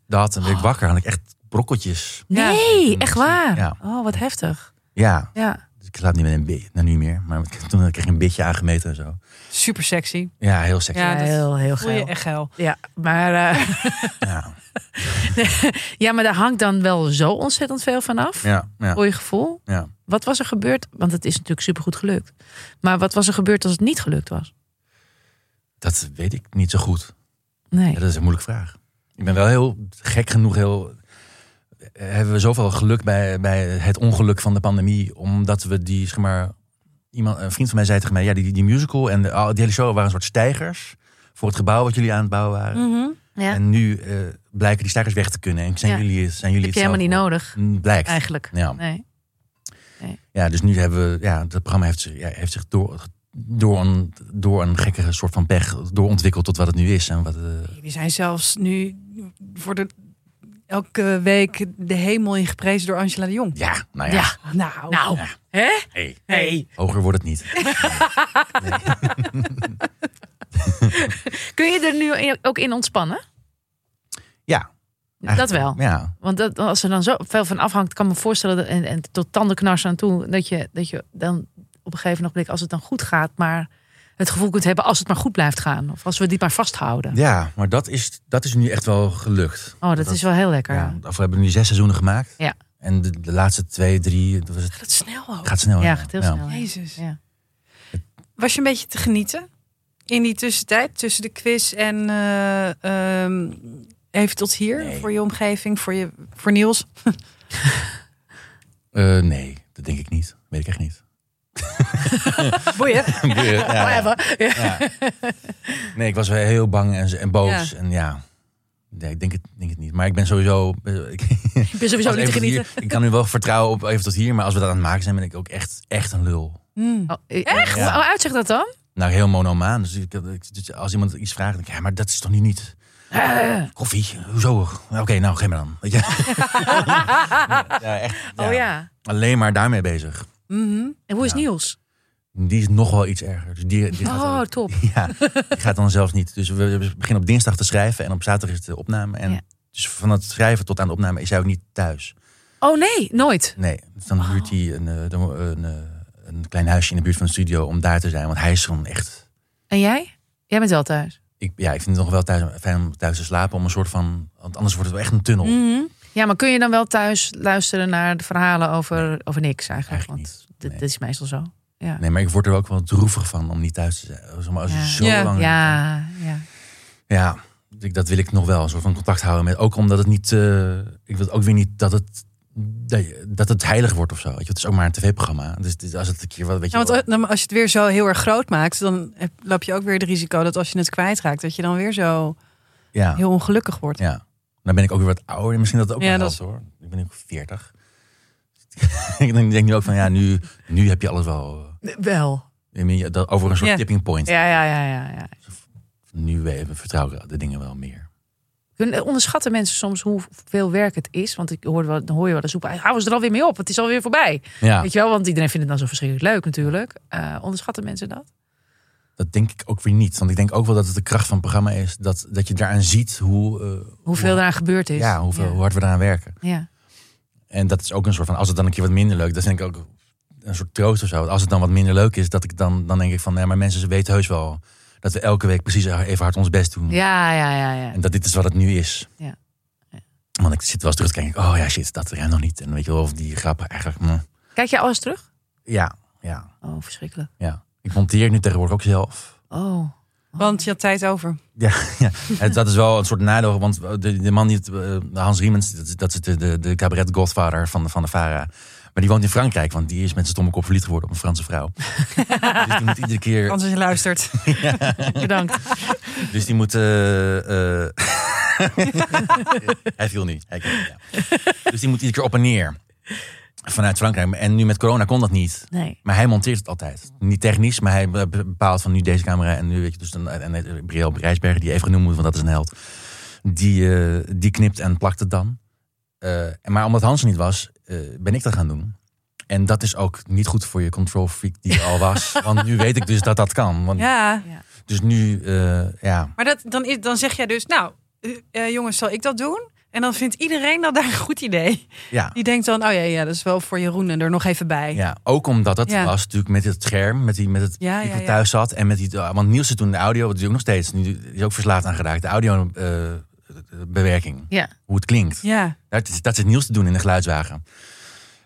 Speaker 1: dat. En werd ik wakker had ik echt brokkeltjes.
Speaker 3: Ja.
Speaker 2: Nee, echt waar?
Speaker 1: Ja.
Speaker 2: Oh, wat heftig.
Speaker 1: Ja,
Speaker 2: Ja.
Speaker 1: dus ik slaap niet meer in een bed. Nou, niet meer. Maar ik- toen kreeg ik een bitje aangemeten en zo.
Speaker 3: Super sexy.
Speaker 1: Ja, heel sexy.
Speaker 3: Ja,
Speaker 2: Ja,
Speaker 3: dat
Speaker 2: heel, heel
Speaker 3: Voel je
Speaker 2: geil.
Speaker 3: echt geil.
Speaker 2: Ja, maar, eh,
Speaker 1: Ja,
Speaker 2: ja, maar daar hangt dan wel zo ontzettend veel van af.
Speaker 1: ja, ja.
Speaker 2: Voor je gevoel.
Speaker 1: ja.
Speaker 2: Wat was er gebeurd? Want het is natuurlijk supergoed gelukt. Maar wat was er gebeurd als het niet gelukt was?
Speaker 1: Dat weet ik niet zo goed.
Speaker 2: Nee.
Speaker 1: Ja, dat is een moeilijke vraag. Ik ben wel heel gek genoeg, heel. Hebben we zoveel geluk bij, bij het ongeluk van de pandemie, omdat we die, zeg maar. Iemand, een vriend van mij zei tegen mij: ja, die, die musical en de, al die hele show waren een soort stijgers voor het gebouw wat jullie aan het bouwen
Speaker 2: Mm.
Speaker 1: waren.
Speaker 2: Ja.
Speaker 1: En nu eh, blijken die stijgers weg te kunnen. En zijn
Speaker 2: Ja.
Speaker 1: jullie, zijn jullie
Speaker 2: heb je helemaal niet
Speaker 1: hetzelfde?
Speaker 2: nodig,
Speaker 1: Mm, Blijkt.
Speaker 2: eigenlijk.
Speaker 1: Ja.
Speaker 2: Nee.
Speaker 1: Ja, dus nu hebben we, ja, dat programma heeft zich, ja, heeft zich door, door, een, door een gekke soort van pech doorontwikkeld tot wat het nu is. En wat, eh,
Speaker 3: Jullie zijn zelfs nu voor de, elke week de hemel in geprezen door Angela de Jong.
Speaker 1: ja, nou ja,
Speaker 2: Ja.
Speaker 3: Nou,
Speaker 2: Nou,
Speaker 1: Ja.
Speaker 2: hè?
Speaker 1: hey,
Speaker 2: Hey.
Speaker 1: hoger wordt het niet.
Speaker 2: Kun je er nu in- ook in ontspannen?
Speaker 1: Ja.
Speaker 2: Dat wel.
Speaker 1: Ja,
Speaker 2: Want dat, als er dan zo veel van afhangt, kan ik me voorstellen, dat, en, en tot tandenknarsen aan toe, dat je, dat je dan op een gegeven moment, als het dan goed gaat, maar het gevoel kunt hebben als het maar goed blijft gaan. Of als we die maar vasthouden.
Speaker 1: Ja, maar dat is, dat is nu echt wel gelukt.
Speaker 2: Oh, dat, is wel heel lekker.
Speaker 1: Ja, of we hebben nu zes seizoenen gemaakt.
Speaker 2: Ja.
Speaker 1: En de, de laatste twee, drie, dat was het,
Speaker 3: dat snel ook.
Speaker 1: gaat snel.
Speaker 2: Ja, gaat heel
Speaker 1: Ja.
Speaker 2: snel.
Speaker 3: Jezus.
Speaker 2: Ja.
Speaker 3: Was je een beetje te genieten in die tussentijd tussen de quiz en eh, ehm, even tot hier
Speaker 1: Nee.
Speaker 3: voor je omgeving, voor, je, voor Niels?
Speaker 1: Eh, nee, dat denk ik niet. Weet ik echt niet.
Speaker 3: Boeien.
Speaker 1: Ja,
Speaker 2: Oh,
Speaker 1: ja, ja. Nee, ik was wel heel bang en, en boos. En ja, nee, ik denk het, denk het niet. Maar ik ben sowieso... eh, Ik,
Speaker 2: Ik ben sowieso
Speaker 1: als
Speaker 2: niet te
Speaker 1: even tot
Speaker 2: genieten.
Speaker 1: hier- ik kan nu wel vertrouwen op even tot hier. Maar als we dat aan het maken zijn, ben ik ook echt, echt een lul.
Speaker 2: Mm.
Speaker 3: Hmm.
Speaker 2: echt?
Speaker 1: Ja.
Speaker 2: Oh, uitzicht dat dan?
Speaker 1: Nou, heel monomaan. Dus ik, ik- dus als iemand iets vraagt, denk ik, ja, maar dat is toch nu niet...
Speaker 2: Eh.
Speaker 1: Koffie? Hoezo? Oké, nou, geef me dan. Weet je? ja, echt, ja.
Speaker 2: Oh ja.
Speaker 1: Alleen maar daarmee bezig.
Speaker 3: Mhm.
Speaker 2: En hoe is
Speaker 1: Ja.
Speaker 2: Niels?
Speaker 1: Die is nog wel iets erger. Dus die, die gaat
Speaker 2: Oh,
Speaker 1: wel-
Speaker 2: top.
Speaker 1: Ja, die gaat dan zelfs niet. Dus we we beginnen op dinsdag te schrijven en op zaterdag is de opname. En
Speaker 2: Ja.
Speaker 1: dus van het schrijven tot aan de opname is hij ook niet thuis.
Speaker 2: Oh nee, nooit.
Speaker 1: Nee, dus dan huurt hij een, eh, dan, eh, een, eh, een klein huisje in de buurt van de studio om daar te zijn. Want hij is gewoon echt...
Speaker 2: En jij? Jij bent wel thuis.
Speaker 1: Ik, ja, ik vind het nog wel thuis, fijn om thuis te slapen. Om een soort van... Want anders wordt het wel echt een tunnel.
Speaker 3: Mhm.
Speaker 2: Ja, maar kun je dan wel thuis luisteren naar de verhalen over, over niks eigenlijk?
Speaker 1: Eigenlijk
Speaker 2: Want
Speaker 1: niet.
Speaker 2: dat,
Speaker 1: Nee.
Speaker 2: dat is meestal zo. Ja.
Speaker 1: Nee, maar ik word er ook wel droevig van om niet thuis te zijn. Zeg maar, als je
Speaker 2: Ja.
Speaker 1: zo
Speaker 3: Ja.
Speaker 1: lang...
Speaker 2: Ja, ja.
Speaker 1: Ja, ik- dat wil ik nog wel. Een soort van contact houden met. Ook omdat het niet. eh, ik wil ook weer niet dat het. Dat, je- dat het heilig wordt of zo. Weet je, het is ook maar een tv-programma. Dus, het is- als het een keer wat. Weet je,
Speaker 3: Ja, want
Speaker 1: wel-
Speaker 3: eh, als- dan- als je het weer zo heel erg groot maakt, dan heb- loop je ook weer het risico dat als je het kwijtraakt, dat je dan weer zo
Speaker 1: ja,
Speaker 3: heel ongelukkig wordt.
Speaker 1: ja. Dan ben ik ook weer wat ouder. en Misschien dat het ook
Speaker 3: Ja,
Speaker 1: wel
Speaker 3: dat
Speaker 1: helpt, hoor. Ik ben nu ook 40. ik denk denk nu ook van ja, nu, nu heb je alles wel.
Speaker 2: Wel.
Speaker 1: eh, ik meen, dat- Over een soort
Speaker 3: Eh, Ja.
Speaker 1: tipping point.
Speaker 2: Ja, ja, ja, ja. ja.
Speaker 1: nu we- vertrouw ik de dingen wel meer.
Speaker 2: Hun- Onderschatten mensen soms hoeveel werk het is? Want ik hoor wel, dan hoor je wel eens roepen, hou ze er alweer mee op, het is alweer voorbij.
Speaker 1: Ja,
Speaker 2: Weet je wel, want iedereen vindt het dan zo verschrikkelijk leuk natuurlijk. Eh, onderschatten mensen dat?
Speaker 1: dat denk ik ook weer niet. Want ik denk ook wel dat het de kracht van het programma is. Dat, dat je daaraan ziet hoe, eh,
Speaker 2: Hoeveel
Speaker 1: hoe-
Speaker 2: eraan gebeurd is?
Speaker 1: ja, hoeveel, hoe hard we daaraan werken.
Speaker 2: Ja.
Speaker 1: En dat is ook een soort van, als het dan een keer wat minder leuk, dat vind ik ook een soort troost of zo. Want Als het dan wat minder leuk is, dat ik dan, dan denk ik van, ja, maar mensen ze weten heus wel dat we elke week precies even hard ons best doen.
Speaker 2: Ja, ja, ja, ja.
Speaker 1: En dat dit is wat het nu is.
Speaker 2: Ja. Ja.
Speaker 1: Want ik zit wel eens terug te kijken, oh ja, shit, dat er nog niet. En weet je wel, of die grappen eigenlijk, mm. meh.
Speaker 2: Kijk je alles terug?
Speaker 1: ja, ja,
Speaker 2: Oh, verschrikkelijk.
Speaker 1: ja. Ik monteer nu tegenwoordig ook zelf.
Speaker 2: Oh.
Speaker 3: Want je had tijd over.
Speaker 1: Het- dat is wel een soort nadeel, want de, de man die het, eh, Hans Riemens, dat, is- dat is de, de, de cabaret godfather van de, van de VARA. Maar die woont in Frankrijk, want die is met zijn stomme kop verliefd geworden op een Franse vrouw. dus die moet iedere keer...
Speaker 3: Anders als je luistert.
Speaker 2: Bedankt.
Speaker 1: Dus die moet... eh, eh, hij viel niet. Hij kon niet, ja. Dus die moet iedere keer op en neer. Vanuit Frankrijk. En nu met corona kon dat niet.
Speaker 2: Nee.
Speaker 1: Maar hij monteert het altijd. Niet technisch, maar hij be- bepaalt van nu deze camera en nu weet je dus dan en en Briel Rijsberger die even genoemd moet, want dat is een held. Die, eh, die knipt en plakt het dan. Eh, maar omdat Hans er niet was, eh, ben ik dat gaan doen. En dat is ook niet goed voor je control freak die je al was. Want nu weet ik dus dat dat kan. Want,
Speaker 3: Ja,
Speaker 1: Dus nu, eh, ja.
Speaker 3: maar dat, dan, is, dan zeg jij dus, nou eh, eh, jongens, zal ik dat doen? En dan vindt iedereen dat daar een goed idee.
Speaker 1: ja.
Speaker 3: Die denkt dan, oh ja, ja dat is wel voor Jeroen en er nog even bij.
Speaker 1: Ja, ook omdat dat
Speaker 3: Ja.
Speaker 1: was natuurlijk met het scherm, met die, met het
Speaker 3: Ja,
Speaker 1: die
Speaker 3: ja,
Speaker 1: ik
Speaker 3: ja.
Speaker 1: thuis zat en met die, eh, want Niels zit toen de audio, wat doe ook nog steeds, nu is ook verslaafd aan geraakt, de audio eh, bewerking,
Speaker 2: Ja.
Speaker 1: hoe het klinkt.
Speaker 3: Ja.
Speaker 1: Dat, is, dat zit Niels te doen in de geluidswagen.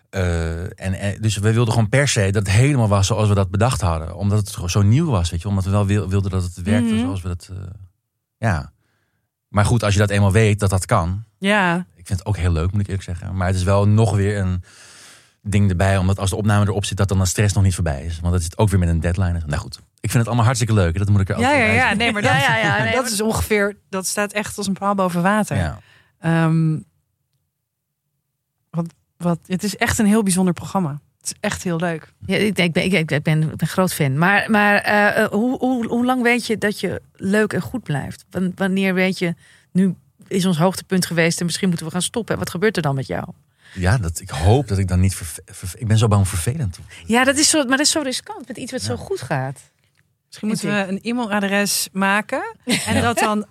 Speaker 1: Eh, en, en- dus we wilden gewoon per se dat het helemaal was zoals we dat bedacht hadden, omdat het gewoon zo nieuw was, weet je, omdat we wel wil- wilden dat het werkte
Speaker 3: Mhm.
Speaker 1: zoals we dat, eh, ja. Maar goed, als je dat eenmaal weet dat dat kan,
Speaker 3: ja.
Speaker 1: ik vind het ook heel leuk, moet ik eerlijk zeggen. Maar het is wel nog weer een ding erbij. Omdat als de opname erop zit, dat dan de stress nog niet voorbij is. Want dat zit ook weer met een deadline. Nou goed, ik vind het allemaal hartstikke leuk. Dat moet ik er ook
Speaker 3: Ja,
Speaker 1: weer
Speaker 3: ja,
Speaker 1: bij
Speaker 3: ja.
Speaker 1: zeggen.
Speaker 3: Nee, maar dat,
Speaker 2: Ja, ja, ja, nee,
Speaker 3: dat
Speaker 2: maar-
Speaker 3: is ongeveer... Dat staat echt als een paal boven water.
Speaker 1: Ja.
Speaker 3: Ehm, wat, wat, het is echt een heel bijzonder programma. Het is echt heel leuk.
Speaker 2: Ja, ik, denk- ik, ben, ik, ik ben, ik ben een groot fan. Maar, maar eh, eh, hoe, hoe, hoe lang weet je dat je leuk en goed blijft? Wan- Wanneer weet je, nu is ons hoogtepunt geweest en misschien moeten we gaan stoppen. Wat gebeurt er dan met jou?
Speaker 1: Ja, dat, ik hoop dat ik dan niet... verve- verve- ik ben zo bang om vervelend. te worden.
Speaker 2: Ja, dat is zo, maar dat is zo riskant met iets wat zo goed gaat.
Speaker 3: Misschien moeten we een e-mailadres maken. En dat dan,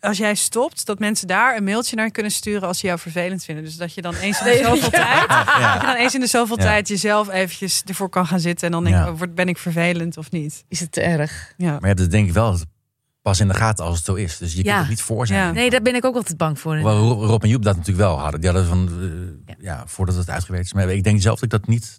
Speaker 3: als jij stopt, dat mensen daar een mailtje naar kunnen sturen als ze jou vervelend vinden. Dus dat je dan eens in de zoveel tijd... Dat je dan eens in de zoveel
Speaker 1: Ja.
Speaker 3: tijd jezelf eventjes ervoor kan gaan zitten. En dan denk
Speaker 1: Ja.
Speaker 3: oh, word- ben ik vervelend of niet?
Speaker 2: Is het te erg?
Speaker 3: Ja.
Speaker 1: Maar ja, dat denk ik wel pas in de gaten als het zo is. Dus je
Speaker 2: Ja.
Speaker 1: kunt het niet voor zijn.
Speaker 3: Ja.
Speaker 2: Nee, daar ben ik ook altijd bang voor.
Speaker 1: Hoewel Rob Rob en Joep dat natuurlijk wel hadden. Die hadden van, eh, ja. voordat het uitgewerkt is. Maar ik denk zelf dat ik dat niet...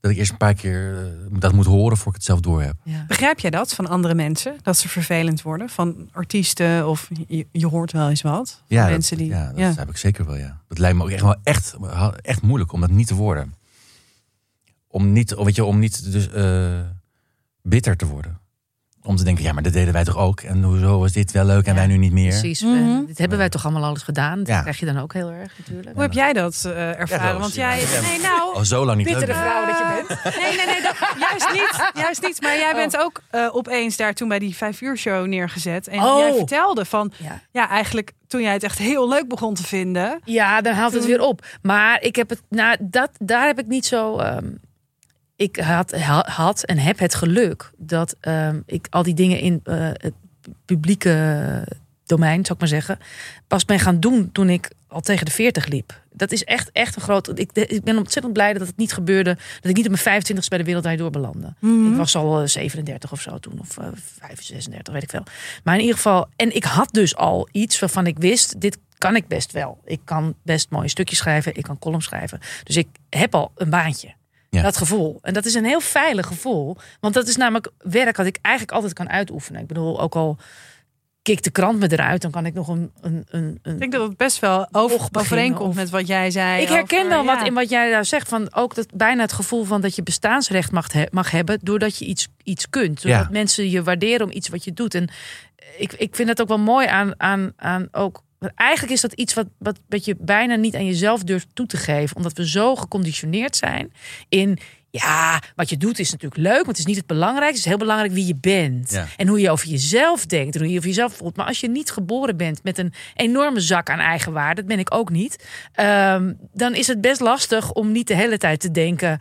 Speaker 1: Dat ik eerst een paar keer eh, dat moet horen voor ik het zelf door heb.
Speaker 2: Ja.
Speaker 3: Begrijp jij dat van andere mensen? Dat ze vervelend worden? Van artiesten of je, je hoort wel eens wat? Van
Speaker 1: dat-
Speaker 3: mensen die.
Speaker 1: ja, dat heb ik zeker wel, ja. Dat lijkt me ook echt, wel echt, echt moeilijk om dat niet te worden. Om niet, weet je, om niet dus, eh, bitter te worden. Om te denken, ja, maar dat deden wij toch ook? En hoezo was dit wel leuk en
Speaker 2: Ja,
Speaker 1: wij nu niet meer?
Speaker 2: Precies.
Speaker 3: Mhm.
Speaker 2: Eh, Dit hebben wij toch allemaal alles gedaan? Dat
Speaker 1: Ja.
Speaker 2: krijg je dan ook heel erg natuurlijk.
Speaker 3: Hoe heb jij dat eh, ervaren?
Speaker 1: Roos,
Speaker 3: Want
Speaker 1: ja.
Speaker 3: jij.
Speaker 1: Ja. Oh,
Speaker 3: Nee, nou.
Speaker 1: Al zo lang niet
Speaker 2: Bittere
Speaker 1: leuk.
Speaker 2: vrouw dat je bent.
Speaker 3: Eh.
Speaker 2: Oh.
Speaker 3: Nee, nee, nee, dat, juist, niet, juist niet. Maar jij bent ook eh, opeens daar toen bij die vijf uur show neergezet. En
Speaker 2: Oh.
Speaker 3: jij vertelde van,
Speaker 2: Ja.
Speaker 3: ja, eigenlijk toen jij het echt heel leuk begon te vinden.
Speaker 2: Ja, dan haalt het
Speaker 3: Toen-
Speaker 2: weer op. Maar ik heb het, nou, dat, daar heb ik niet zo. ehm, ik had, ha- had en heb het geluk dat ehm, ik al die dingen in eh, het publieke domein, zou ik maar zeggen, pas ben gaan doen toen ik al tegen de 40 liep. Dat is echt, echt een groot. Ik, ik ben ontzettend blij dat het niet gebeurde. Dat ik niet op mijn 25ste bij de Wereldwijd door belandde. Ik was al eh, 37 of zo toen, of eh, 35, 36, weet ik veel. Maar in ieder geval, en ik had dus al iets waarvan ik wist, dit kan ik best wel. Ik kan best mooie stukjes schrijven, ik kan columns schrijven. Dus ik heb al een baantje.
Speaker 1: Ja.
Speaker 2: Dat gevoel. En dat is een heel veilig gevoel. Want dat is namelijk werk dat ik eigenlijk altijd kan uitoefenen. Ik bedoel, ook al kikt de krant me eruit, dan kan ik nog een... een, een, een
Speaker 3: Ik denk dat het best wel over,
Speaker 2: Och, beginnen,
Speaker 3: overeenkomt
Speaker 2: of-
Speaker 3: met wat jij zei.
Speaker 2: ik herken
Speaker 3: over-
Speaker 2: wel wat
Speaker 3: ja.
Speaker 2: in wat jij daar zegt. Van ook dat bijna het gevoel van dat je bestaansrecht mag, he- mag hebben. doordat je iets, iets kunt. Doordat
Speaker 1: Ja.
Speaker 2: mensen je waarderen om iets wat je doet. En ik, ik vind dat ook wel mooi aan, aan, aan ook. want Eigenlijk is dat iets wat, wat, wat je bijna niet aan jezelf durft toe te geven. Omdat we zo geconditioneerd zijn in. Ja, wat je doet is natuurlijk leuk, want het is niet het belangrijkste. Het is heel belangrijk wie je bent.
Speaker 1: Ja.
Speaker 2: En hoe je over jezelf denkt, en hoe je over jezelf voelt. Maar als je niet geboren bent met een enorme zak aan eigenwaarde, dat ben ik ook niet. ehm, dan is het best lastig om niet de hele tijd te denken...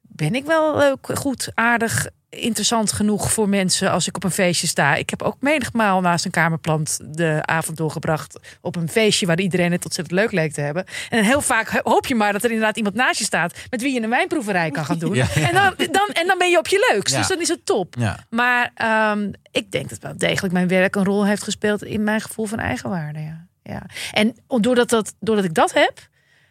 Speaker 2: ben ik wel leuk, goed, aardig, interessant genoeg voor mensen als ik op een feestje sta? Ik heb ook menigmaal naast een kamerplant de avond doorgebracht... op een feestje waar iedereen het ontzettend leuk leek te hebben. En heel vaak hoop je maar dat er inderdaad iemand naast je staat... met wie je een wijnproeverij kan gaan doen.
Speaker 1: Ja.
Speaker 2: En, dan, dan, en dan ben je op je leukst,
Speaker 1: Ja.
Speaker 2: dus dan is het top.
Speaker 1: Ja.
Speaker 2: Maar ehm, ik denk dat wel degelijk mijn werk een rol heeft gespeeld in mijn gevoel van eigenwaarde. Ja. Ja. En doordat, dat, doordat ik dat heb.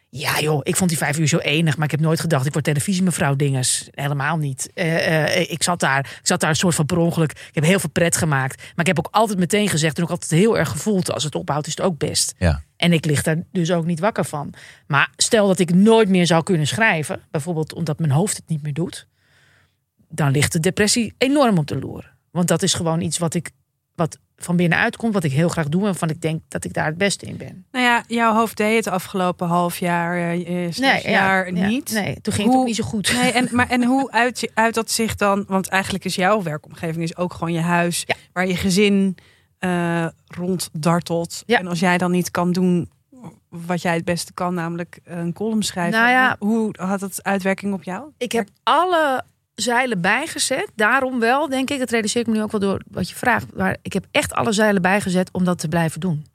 Speaker 2: Ja joh, ik vond die vijf uur zo enig. Maar ik heb nooit gedacht, ik word televisiemevrouw dingers. Helemaal niet. Eh, eh, ik, zat daar, ik zat daar een soort van per ongeluk. Ik heb heel veel pret gemaakt. Maar ik heb ook altijd meteen gezegd en ook altijd heel erg gevoeld. Als het ophoudt is het ook best.
Speaker 1: Ja.
Speaker 2: En ik lig daar dus ook niet wakker van. Maar stel dat ik nooit meer zou kunnen schrijven. Bijvoorbeeld omdat mijn hoofd het niet meer doet dan ligt de depressie enorm op de loer. Want dat is gewoon iets wat ik wat van binnenuit komt, wat ik heel graag doe en van ik denk dat ik daar het beste in ben.
Speaker 3: Nou ja, jouw hoofd deed het afgelopen half jaar, eh, eh, slash jaar
Speaker 2: ja,
Speaker 3: niet.
Speaker 2: Nee, toen ging het
Speaker 3: Hoe-
Speaker 2: ook niet zo goed.
Speaker 3: Nee, en, maar, en hoe uit, je- uit dat zich dan? Want eigenlijk is jouw werkomgeving is ook gewoon je huis,
Speaker 2: Ja.
Speaker 3: waar je gezin eh ronddartelt.
Speaker 2: Ja.
Speaker 3: En als jij dan niet kan doen wat jij het beste kan, namelijk een column schrijven.
Speaker 2: Nou ja.
Speaker 3: Hoe had dat uitwerking op jou?
Speaker 2: Ik heb alle zeilen bijgezet. Daarom wel, denk ik. Dat realiseer ik me nu ook wel door wat je vraagt. Maar ik heb echt alle zeilen bijgezet om dat te blijven doen.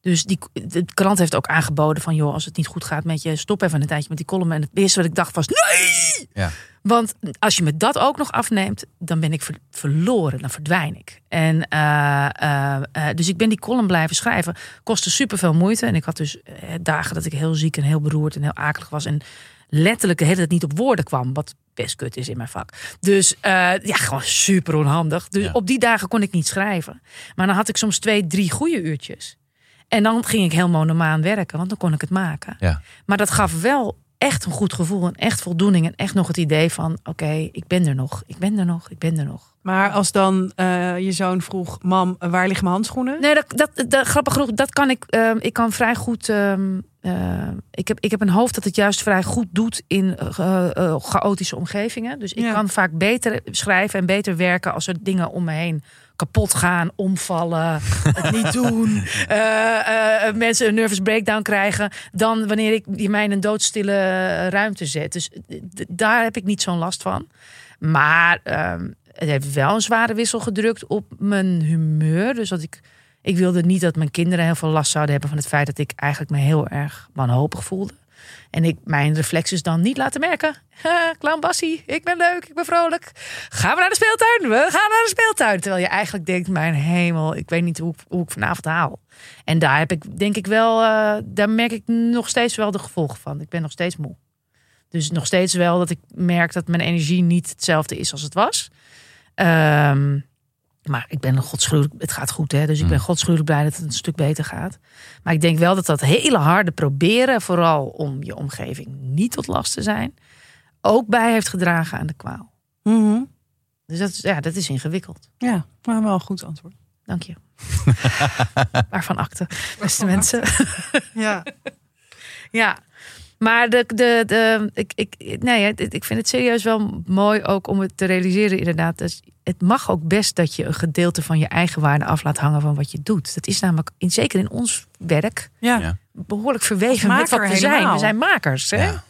Speaker 2: Dus die, de krant heeft ook aangeboden van... joh, als het niet goed gaat met je... stop even een tijdje met die column. En het eerste wat ik dacht was... nee!
Speaker 1: Ja.
Speaker 2: Want als je me dat ook nog afneemt... dan ben ik ver- verloren, dan verdwijn ik. En, eh, eh, eh, dus ik ben die column blijven schrijven. Kostte superveel moeite. En ik had dus eh, dagen dat ik heel ziek en heel beroerd... en heel akelig was. En letterlijk de hele tijd niet op woorden kwam. Wat best kut is in mijn vak. Dus eh, ja, gewoon super onhandig. Dus
Speaker 1: Ja.
Speaker 2: op die dagen kon ik niet schrijven. Maar dan had ik soms twee, drie goede uurtjes. En dan ging ik heel monomaan werken, want dan kon ik het maken.
Speaker 1: Ja.
Speaker 2: Maar dat gaf wel echt een goed gevoel en echt voldoening. En echt nog het idee van, oké, ik ben er nog. Ik ben er nog, ik ben er nog.
Speaker 3: Maar als dan eh, je zoon vroeg, mam, waar liggen mijn handschoenen?
Speaker 2: Nee, dat, dat, dat, grappig genoeg, dat kan ik. ehm, ik kan vrij goed. ehm, ehm, ik, heb, ik heb een hoofd dat het juist vrij goed doet in eh, ge- eh, chaotische omgevingen. Dus ik
Speaker 3: Ja.
Speaker 2: kan vaak beter schrijven en beter werken als er dingen om me heen kapot gaan, omvallen, het niet doen, eh, eh, mensen een nervous breakdown krijgen, dan wanneer ik die mij in een doodstille eh, ruimte zet. Dus eh, d- daar heb ik niet zo'n last van. Maar ehm, het heeft wel een zware wissel gedrukt op mijn humeur. Dus dat ik, ik wilde niet dat mijn kinderen heel veel last zouden hebben van het feit dat ik eigenlijk me heel erg wanhopig voelde. En ik mijn reflexes dan niet laten merken. Ha, clown Bassie, ik ben leuk, ik ben vrolijk. Gaan we naar de speeltuin? We gaan naar de speeltuin. Terwijl je eigenlijk denkt, mijn hemel, ik weet niet hoe, ik- hoe ik vanavond haal. En daar heb ik denk ik wel, eh, daar merk ik nog steeds wel de gevolgen van. Ik ben nog steeds moe. Dus nog steeds wel dat ik merk dat mijn energie niet hetzelfde is als het was. Ehm, maar ik ben godsgruwelijk, het gaat goed hè. Dus ik ben
Speaker 1: Mm.
Speaker 2: godsgruwelijk blij dat het een stuk beter gaat. Maar ik denk wel dat dat hele harde proberen, vooral om je omgeving niet tot last te zijn, ook bij heeft gedragen aan de kwaal.
Speaker 3: Mhm.
Speaker 2: Dus dat is, ja, dat is ingewikkeld.
Speaker 3: Ja, maar wel een goed antwoord.
Speaker 2: Dank je. Waarvan akte, beste mensen.
Speaker 3: Ja.
Speaker 2: Ja. Maar de, de, de, ik, ik, nee, het- ik vind het serieus wel mooi ook om het te realiseren inderdaad. Dus het mag ook best dat je een gedeelte van je eigen waarde af laat hangen van wat je doet. Dat is namelijk, in, zeker in ons werk,
Speaker 3: ja.
Speaker 1: Ja.
Speaker 2: behoorlijk verweven met
Speaker 3: maker
Speaker 2: wat we zijn.
Speaker 3: helemaal.
Speaker 2: We zijn makers. Hè?
Speaker 1: Ja.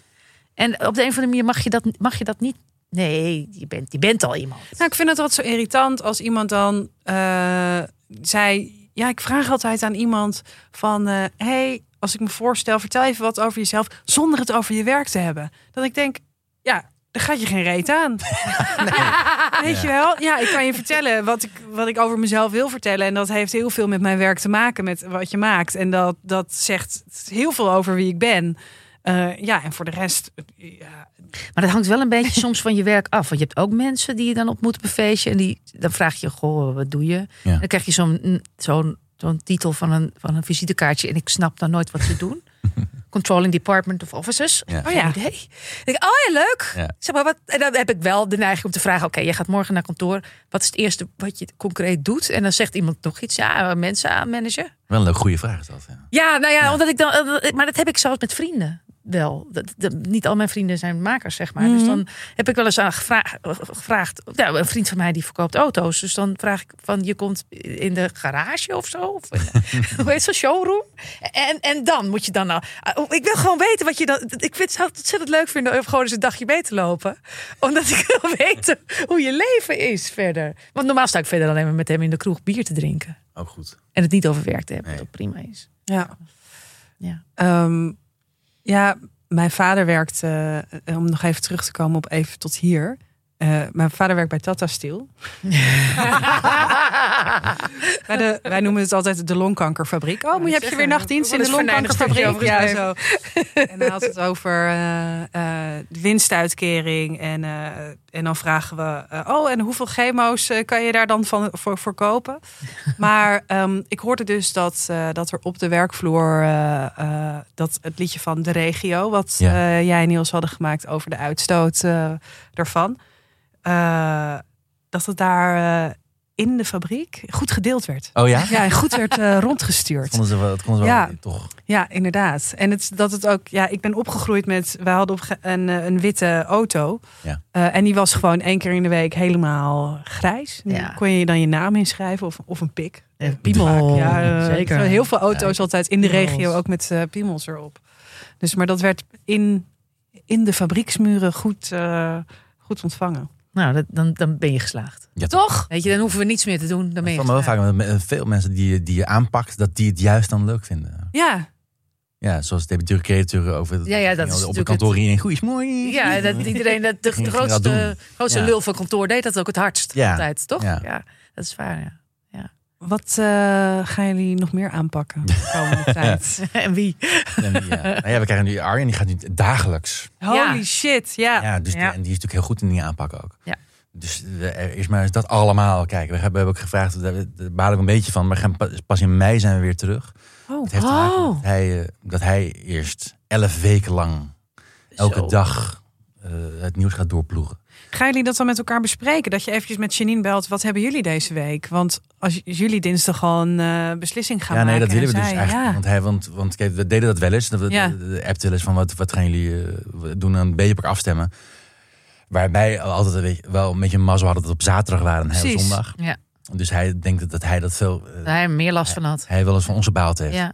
Speaker 2: En op de een of andere manier mag je dat, mag je dat niet. Nee, je bent, je bent al iemand.
Speaker 3: Nou, ik vind het altijd zo irritant als iemand dan eh, zei... Ja, ik vraag altijd aan iemand van... eh, hey, als ik me voorstel, vertel even wat over jezelf... zonder het over je werk te hebben. Dat ik denk, ja, daar gaat je geen reet aan. Weet je wel? Ja, ik kan je vertellen wat ik, wat ik over mezelf wil vertellen. En dat heeft heel veel met mijn werk te maken, met wat je maakt. En dat, dat zegt heel veel over wie ik ben. Eh, ja, en voor de rest... eh, Ja,
Speaker 2: Maar dat hangt wel een beetje soms van je werk af. Want je hebt ook mensen die je dan ontmoet op een feestje. En die, dan vraag je, goh, wat doe je?
Speaker 1: Ja.
Speaker 2: Dan krijg je zo'n zo'n zo'n titel van een, van een visitekaartje. En ik snap dan nooit wat ze doen. Controlling Department of Officers.
Speaker 1: Ja.
Speaker 2: Oh ja. Idee. Ik Denk, oh ja, leuk.
Speaker 1: Ja.
Speaker 2: Zeg maar, wat, en dan heb ik wel de neiging om te vragen... oké, jij gaat morgen naar kantoor. Wat is het eerste wat je concreet doet? En dan zegt iemand nog iets. Ja, mensen aan, manager.
Speaker 1: Wel een leuk goede vraag is dat. Ja.
Speaker 2: eh, Ja, nou ja, omdat ik dan. eh, Maar dat heb ik zelfs met vrienden. wel. Dat, dat- niet al mijn vrienden zijn makers, zeg maar.
Speaker 1: Mhm.
Speaker 2: Dus dan heb ik wel eens aan gevraagd, gevraagd. Nou, een vriend van mij die verkoopt auto's. Dus dan vraag ik van je komt in de garage of zo. Of, in- hoe heet zo'n showroom? En, en dan moet je dan nou. oh, Ik wil gewoon weten wat je dan. Ik vind, zou het ontzettend leuk vinden om gewoon eens een dagje mee te lopen. Omdat ik wil weten hoe je leven is verder. Want normaal sta ik verder alleen maar met hem in de kroeg bier te drinken.
Speaker 1: Ook goed.
Speaker 2: En het niet over werk te hebben,
Speaker 1: Nee.
Speaker 2: dat prima is.
Speaker 3: Ja.
Speaker 2: Ja.
Speaker 3: Ehm, ja, mijn vader werkt, eh, om nog even terug te komen op even tot hier. Eh, mijn vader werkt bij Tata Steel. Bij de, wij noemen het altijd de longkankerfabriek. Oh, moet je, heb je
Speaker 2: zeggen,
Speaker 3: weer nachtdienst in
Speaker 2: wat
Speaker 3: de
Speaker 2: is venijnig
Speaker 3: longkankerfabriek?
Speaker 2: stukje
Speaker 3: Ja,
Speaker 2: over
Speaker 3: zo. En dan had het over eh, eh, de winstuitkering. En, eh, en dan vragen we, eh, oh, en hoeveel chemo's eh, kan je daar dan van, voor, voor kopen? Maar ehm, ik hoorde dus dat, eh, dat er op de werkvloer eh, eh, dat het liedje van de regio, wat
Speaker 1: Ja.
Speaker 3: eh, jij en Niels hadden gemaakt over de uitstoot eh daarvan, eh, dat het daar eh, in de fabriek goed gedeeld werd.
Speaker 1: Oh ja?
Speaker 3: Ja, en goed werd eh, rondgestuurd.
Speaker 1: Vonden ze wel, dat konden ze wel
Speaker 3: Ja.
Speaker 1: toch.
Speaker 3: Ja, inderdaad. En het, dat het ook, ja, ik ben opgegroeid met, we hadden op ge- een, eh, een witte auto.
Speaker 1: Ja.
Speaker 3: Eh, en die was gewoon één keer in de week helemaal grijs. En
Speaker 2: Ja.
Speaker 3: dan Kon je dan je naam inschrijven of, of een pik.
Speaker 2: Piemel.
Speaker 3: ja, eh, ik zag heel veel auto's altijd in de
Speaker 2: Piemels.
Speaker 3: regio, ook met eh, piemels erop. Dus, maar dat werd in, in de fabrieksmuren goed, eh, goed ontvangen.
Speaker 2: Nou, dat- dan, dan ben je geslaagd.
Speaker 1: Ja,
Speaker 2: Toch? Weet je, dan hoeven we niets meer te doen. Dan ben
Speaker 1: Ik
Speaker 2: je
Speaker 1: vond me wel
Speaker 2: geslaagd.
Speaker 1: vaak met met veel mensen die, je- die je aanpakt, dat die het juist dan leuk vinden.
Speaker 3: Ja,
Speaker 1: Ja, zoals de natuurlijk over
Speaker 2: Ja, ja,
Speaker 1: ging
Speaker 2: dat is
Speaker 1: op het
Speaker 2: natuurlijk
Speaker 1: kantoor in goeiesmooi.
Speaker 2: Ja, dat iedereen, dat de,
Speaker 1: Ging-
Speaker 2: de
Speaker 1: ging dat
Speaker 2: grootste, grootste
Speaker 1: Ja.
Speaker 2: lul van kantoor deed dat ook het hardst.
Speaker 1: Ja.
Speaker 2: Altijd, toch?
Speaker 1: Ja.
Speaker 2: Ja. dat is waar. Ja.
Speaker 3: wat eh, gaan jullie nog meer aanpakken de komende tijd?
Speaker 2: en wie?
Speaker 1: En die, ja. Nou ja, we krijgen nu Arjen, die gaat nu dagelijks.
Speaker 3: Holy shit, ja.
Speaker 1: Ja, dus die-
Speaker 2: Ja.
Speaker 1: en die is natuurlijk heel goed in die aanpakken ook.
Speaker 2: Ja.
Speaker 1: Dus eh, er is maar eens dat allemaal kijken. We hebben, we hebben ook gevraagd, daar daar baal ik een beetje van, maar we gaan pa- pas in mei zijn we weer terug.
Speaker 3: Oh,
Speaker 1: Het heeft te maken
Speaker 2: Oh.
Speaker 1: dat hij, eh, dat hij eerst elf weken lang elke
Speaker 2: Zo.
Speaker 1: dag eh, het nieuws gaat doorploegen.
Speaker 3: Gaan jullie dat dan met elkaar bespreken? Dat je eventjes met Janine belt, wat hebben jullie deze week? Want als jullie dinsdag al een eh, beslissing gaan
Speaker 1: ja, nee,
Speaker 3: maken.
Speaker 1: dat willen we
Speaker 3: en
Speaker 1: dus
Speaker 3: zij-
Speaker 1: eigenlijk.
Speaker 3: ja.
Speaker 1: Want, hij, want, want kijk, we deden dat wel eens. Dat we
Speaker 3: Ja.
Speaker 1: de app wel eens van wat, wat gaan jullie eh, doen aan Beperk afstemmen. Waarbij altijd een beetje- wel een beetje mazzel hadden dat het op zaterdag waren en hij op
Speaker 3: Precies.
Speaker 1: zondag.
Speaker 2: Ja.
Speaker 1: Dus hij denkt dat, dat hij dat veel. eh,
Speaker 2: Daar hij meer last van had.
Speaker 1: Hij wel eens van onze baalt heeft.
Speaker 2: Ja.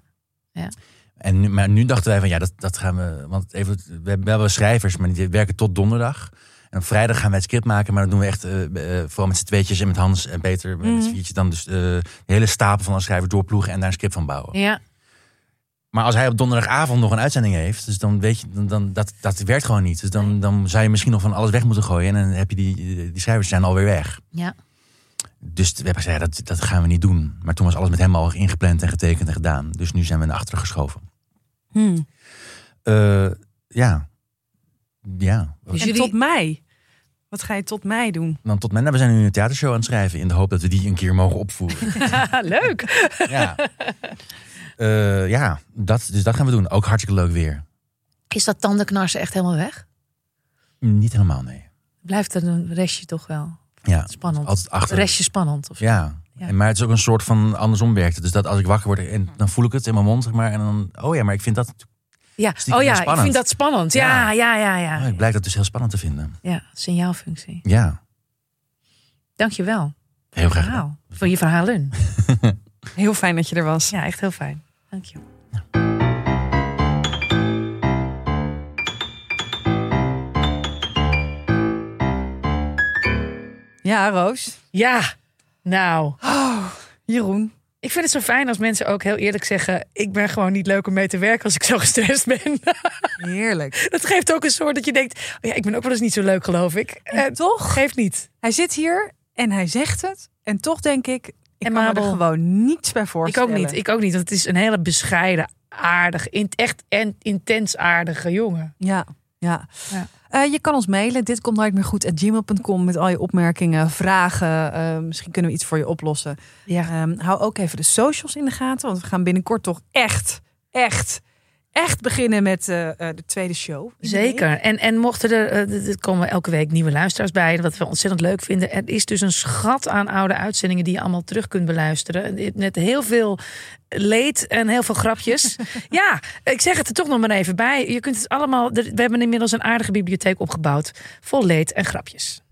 Speaker 1: En nu, maar nu dachten wij van ja, dat, dat gaan we. Want even, we hebben wel schrijvers, maar die werken tot donderdag. En op vrijdag gaan wij het script maken, maar dat doen we echt eh, eh, vooral met z'n tweetjes en met Hans en Peter.
Speaker 3: Mhm.
Speaker 1: Met z'n viertjes dan dus eh, de hele stapel van een schrijver doorploegen en daar een script van bouwen.
Speaker 2: Ja.
Speaker 1: Maar als hij op donderdagavond nog een uitzending heeft, dus dan weet je, dan, dan, dat, dat werkt gewoon niet. Dus dan, dan zou je misschien nog van alles weg moeten gooien. En dan heb je die, die schrijvers zijn alweer weg.
Speaker 2: ja.
Speaker 1: Dus we hebben gezegd, ja, dat, dat gaan we niet doen. Maar toen was alles met hem al ingepland en getekend en gedaan. Dus nu zijn we naar achteren geschoven.
Speaker 3: Hmm.
Speaker 1: Eh, ja. Ja.
Speaker 2: Dus
Speaker 3: En
Speaker 2: jullie-
Speaker 3: tot mei. Wat ga je tot mei doen?
Speaker 1: Dan tot men, nou, we zijn nu een theatershow aan het schrijven. In de hoop dat we die een keer mogen opvoeren.
Speaker 2: Ah, Leuk.
Speaker 1: ja. Eh, ja, dat, dus dat gaan we doen. Ook hartstikke leuk weer.
Speaker 2: Is dat tandenknarsen echt helemaal weg?
Speaker 1: Niet helemaal, nee.
Speaker 2: Blijft er een restje toch wel
Speaker 1: Ja.
Speaker 2: spannend?
Speaker 1: Altijd achter.
Speaker 2: Restje spannend. Of zo.
Speaker 1: Ja.
Speaker 2: Ja.
Speaker 1: En, maar het is ook een soort van andersom werkt. het. Dus dat als ik wakker word, en, dan voel ik het in mijn mond, zeg maar. En dan, oh ja, maar ik vind dat,
Speaker 2: Ja.
Speaker 1: Stiekem
Speaker 2: Oh ja, ik
Speaker 1: spannend.
Speaker 2: vind dat spannend. Ja, ja, ja, ja.
Speaker 1: oh,
Speaker 2: Ja,
Speaker 1: ik blijf dat dus heel spannend te vinden.
Speaker 2: signaalfunctie.
Speaker 1: Ja,
Speaker 2: Dankjewel.
Speaker 1: heel graag. gedaan.
Speaker 2: Verhaal. Voor je verhalen.
Speaker 3: Heel fijn dat je er was.
Speaker 2: Ja, echt heel fijn. Dank je.
Speaker 3: Ja, Roos.
Speaker 2: Ja, nou.
Speaker 3: Jeroen.
Speaker 2: Ik vind het zo fijn als mensen ook heel eerlijk zeggen: Ik ben gewoon niet leuk om mee te werken als ik zo gestrest ben.
Speaker 3: Heerlijk.
Speaker 2: dat geeft ook een soort dat je denkt: oh ja, Ik ben ook wel eens niet zo leuk, geloof ik. En toch? Geeft niet.
Speaker 3: Hij zit hier en hij zegt het. En toch denk ik, ik
Speaker 2: En
Speaker 3: kan me er
Speaker 2: Mabel.
Speaker 3: gewoon niets bij
Speaker 2: Ik
Speaker 3: voorstellen.
Speaker 2: ook niet. Ik ook niet. Want het is een hele bescheiden, aardig, in, echt en intens aardige jongen.
Speaker 3: Ja, ja.
Speaker 2: Ja.
Speaker 3: Eh, je kan ons mailen. Dit komt nooit meer goed. At gmail.com met al je opmerkingen, vragen. Eh, misschien kunnen we iets voor je oplossen.
Speaker 2: Ja.
Speaker 3: Ehm, hou ook even de socials in de gaten. Want we gaan binnenkort toch echt, echt, echt beginnen met eh, eh, de tweede show. in de week.
Speaker 2: Zeker. En, en mochten er, eh, d- er komen elke week nieuwe luisteraars bij, wat we ontzettend leuk vinden. Er is dus een schat aan oude uitzendingen die je allemaal terug kunt beluisteren. En dit- Met heel veel eh, leed en heel veel grapjes. ja, ik zeg het er toch nog maar even bij. Je kunt het allemaal. er- We hebben inmiddels een aardige bibliotheek opgebouwd. Vol leed en grapjes.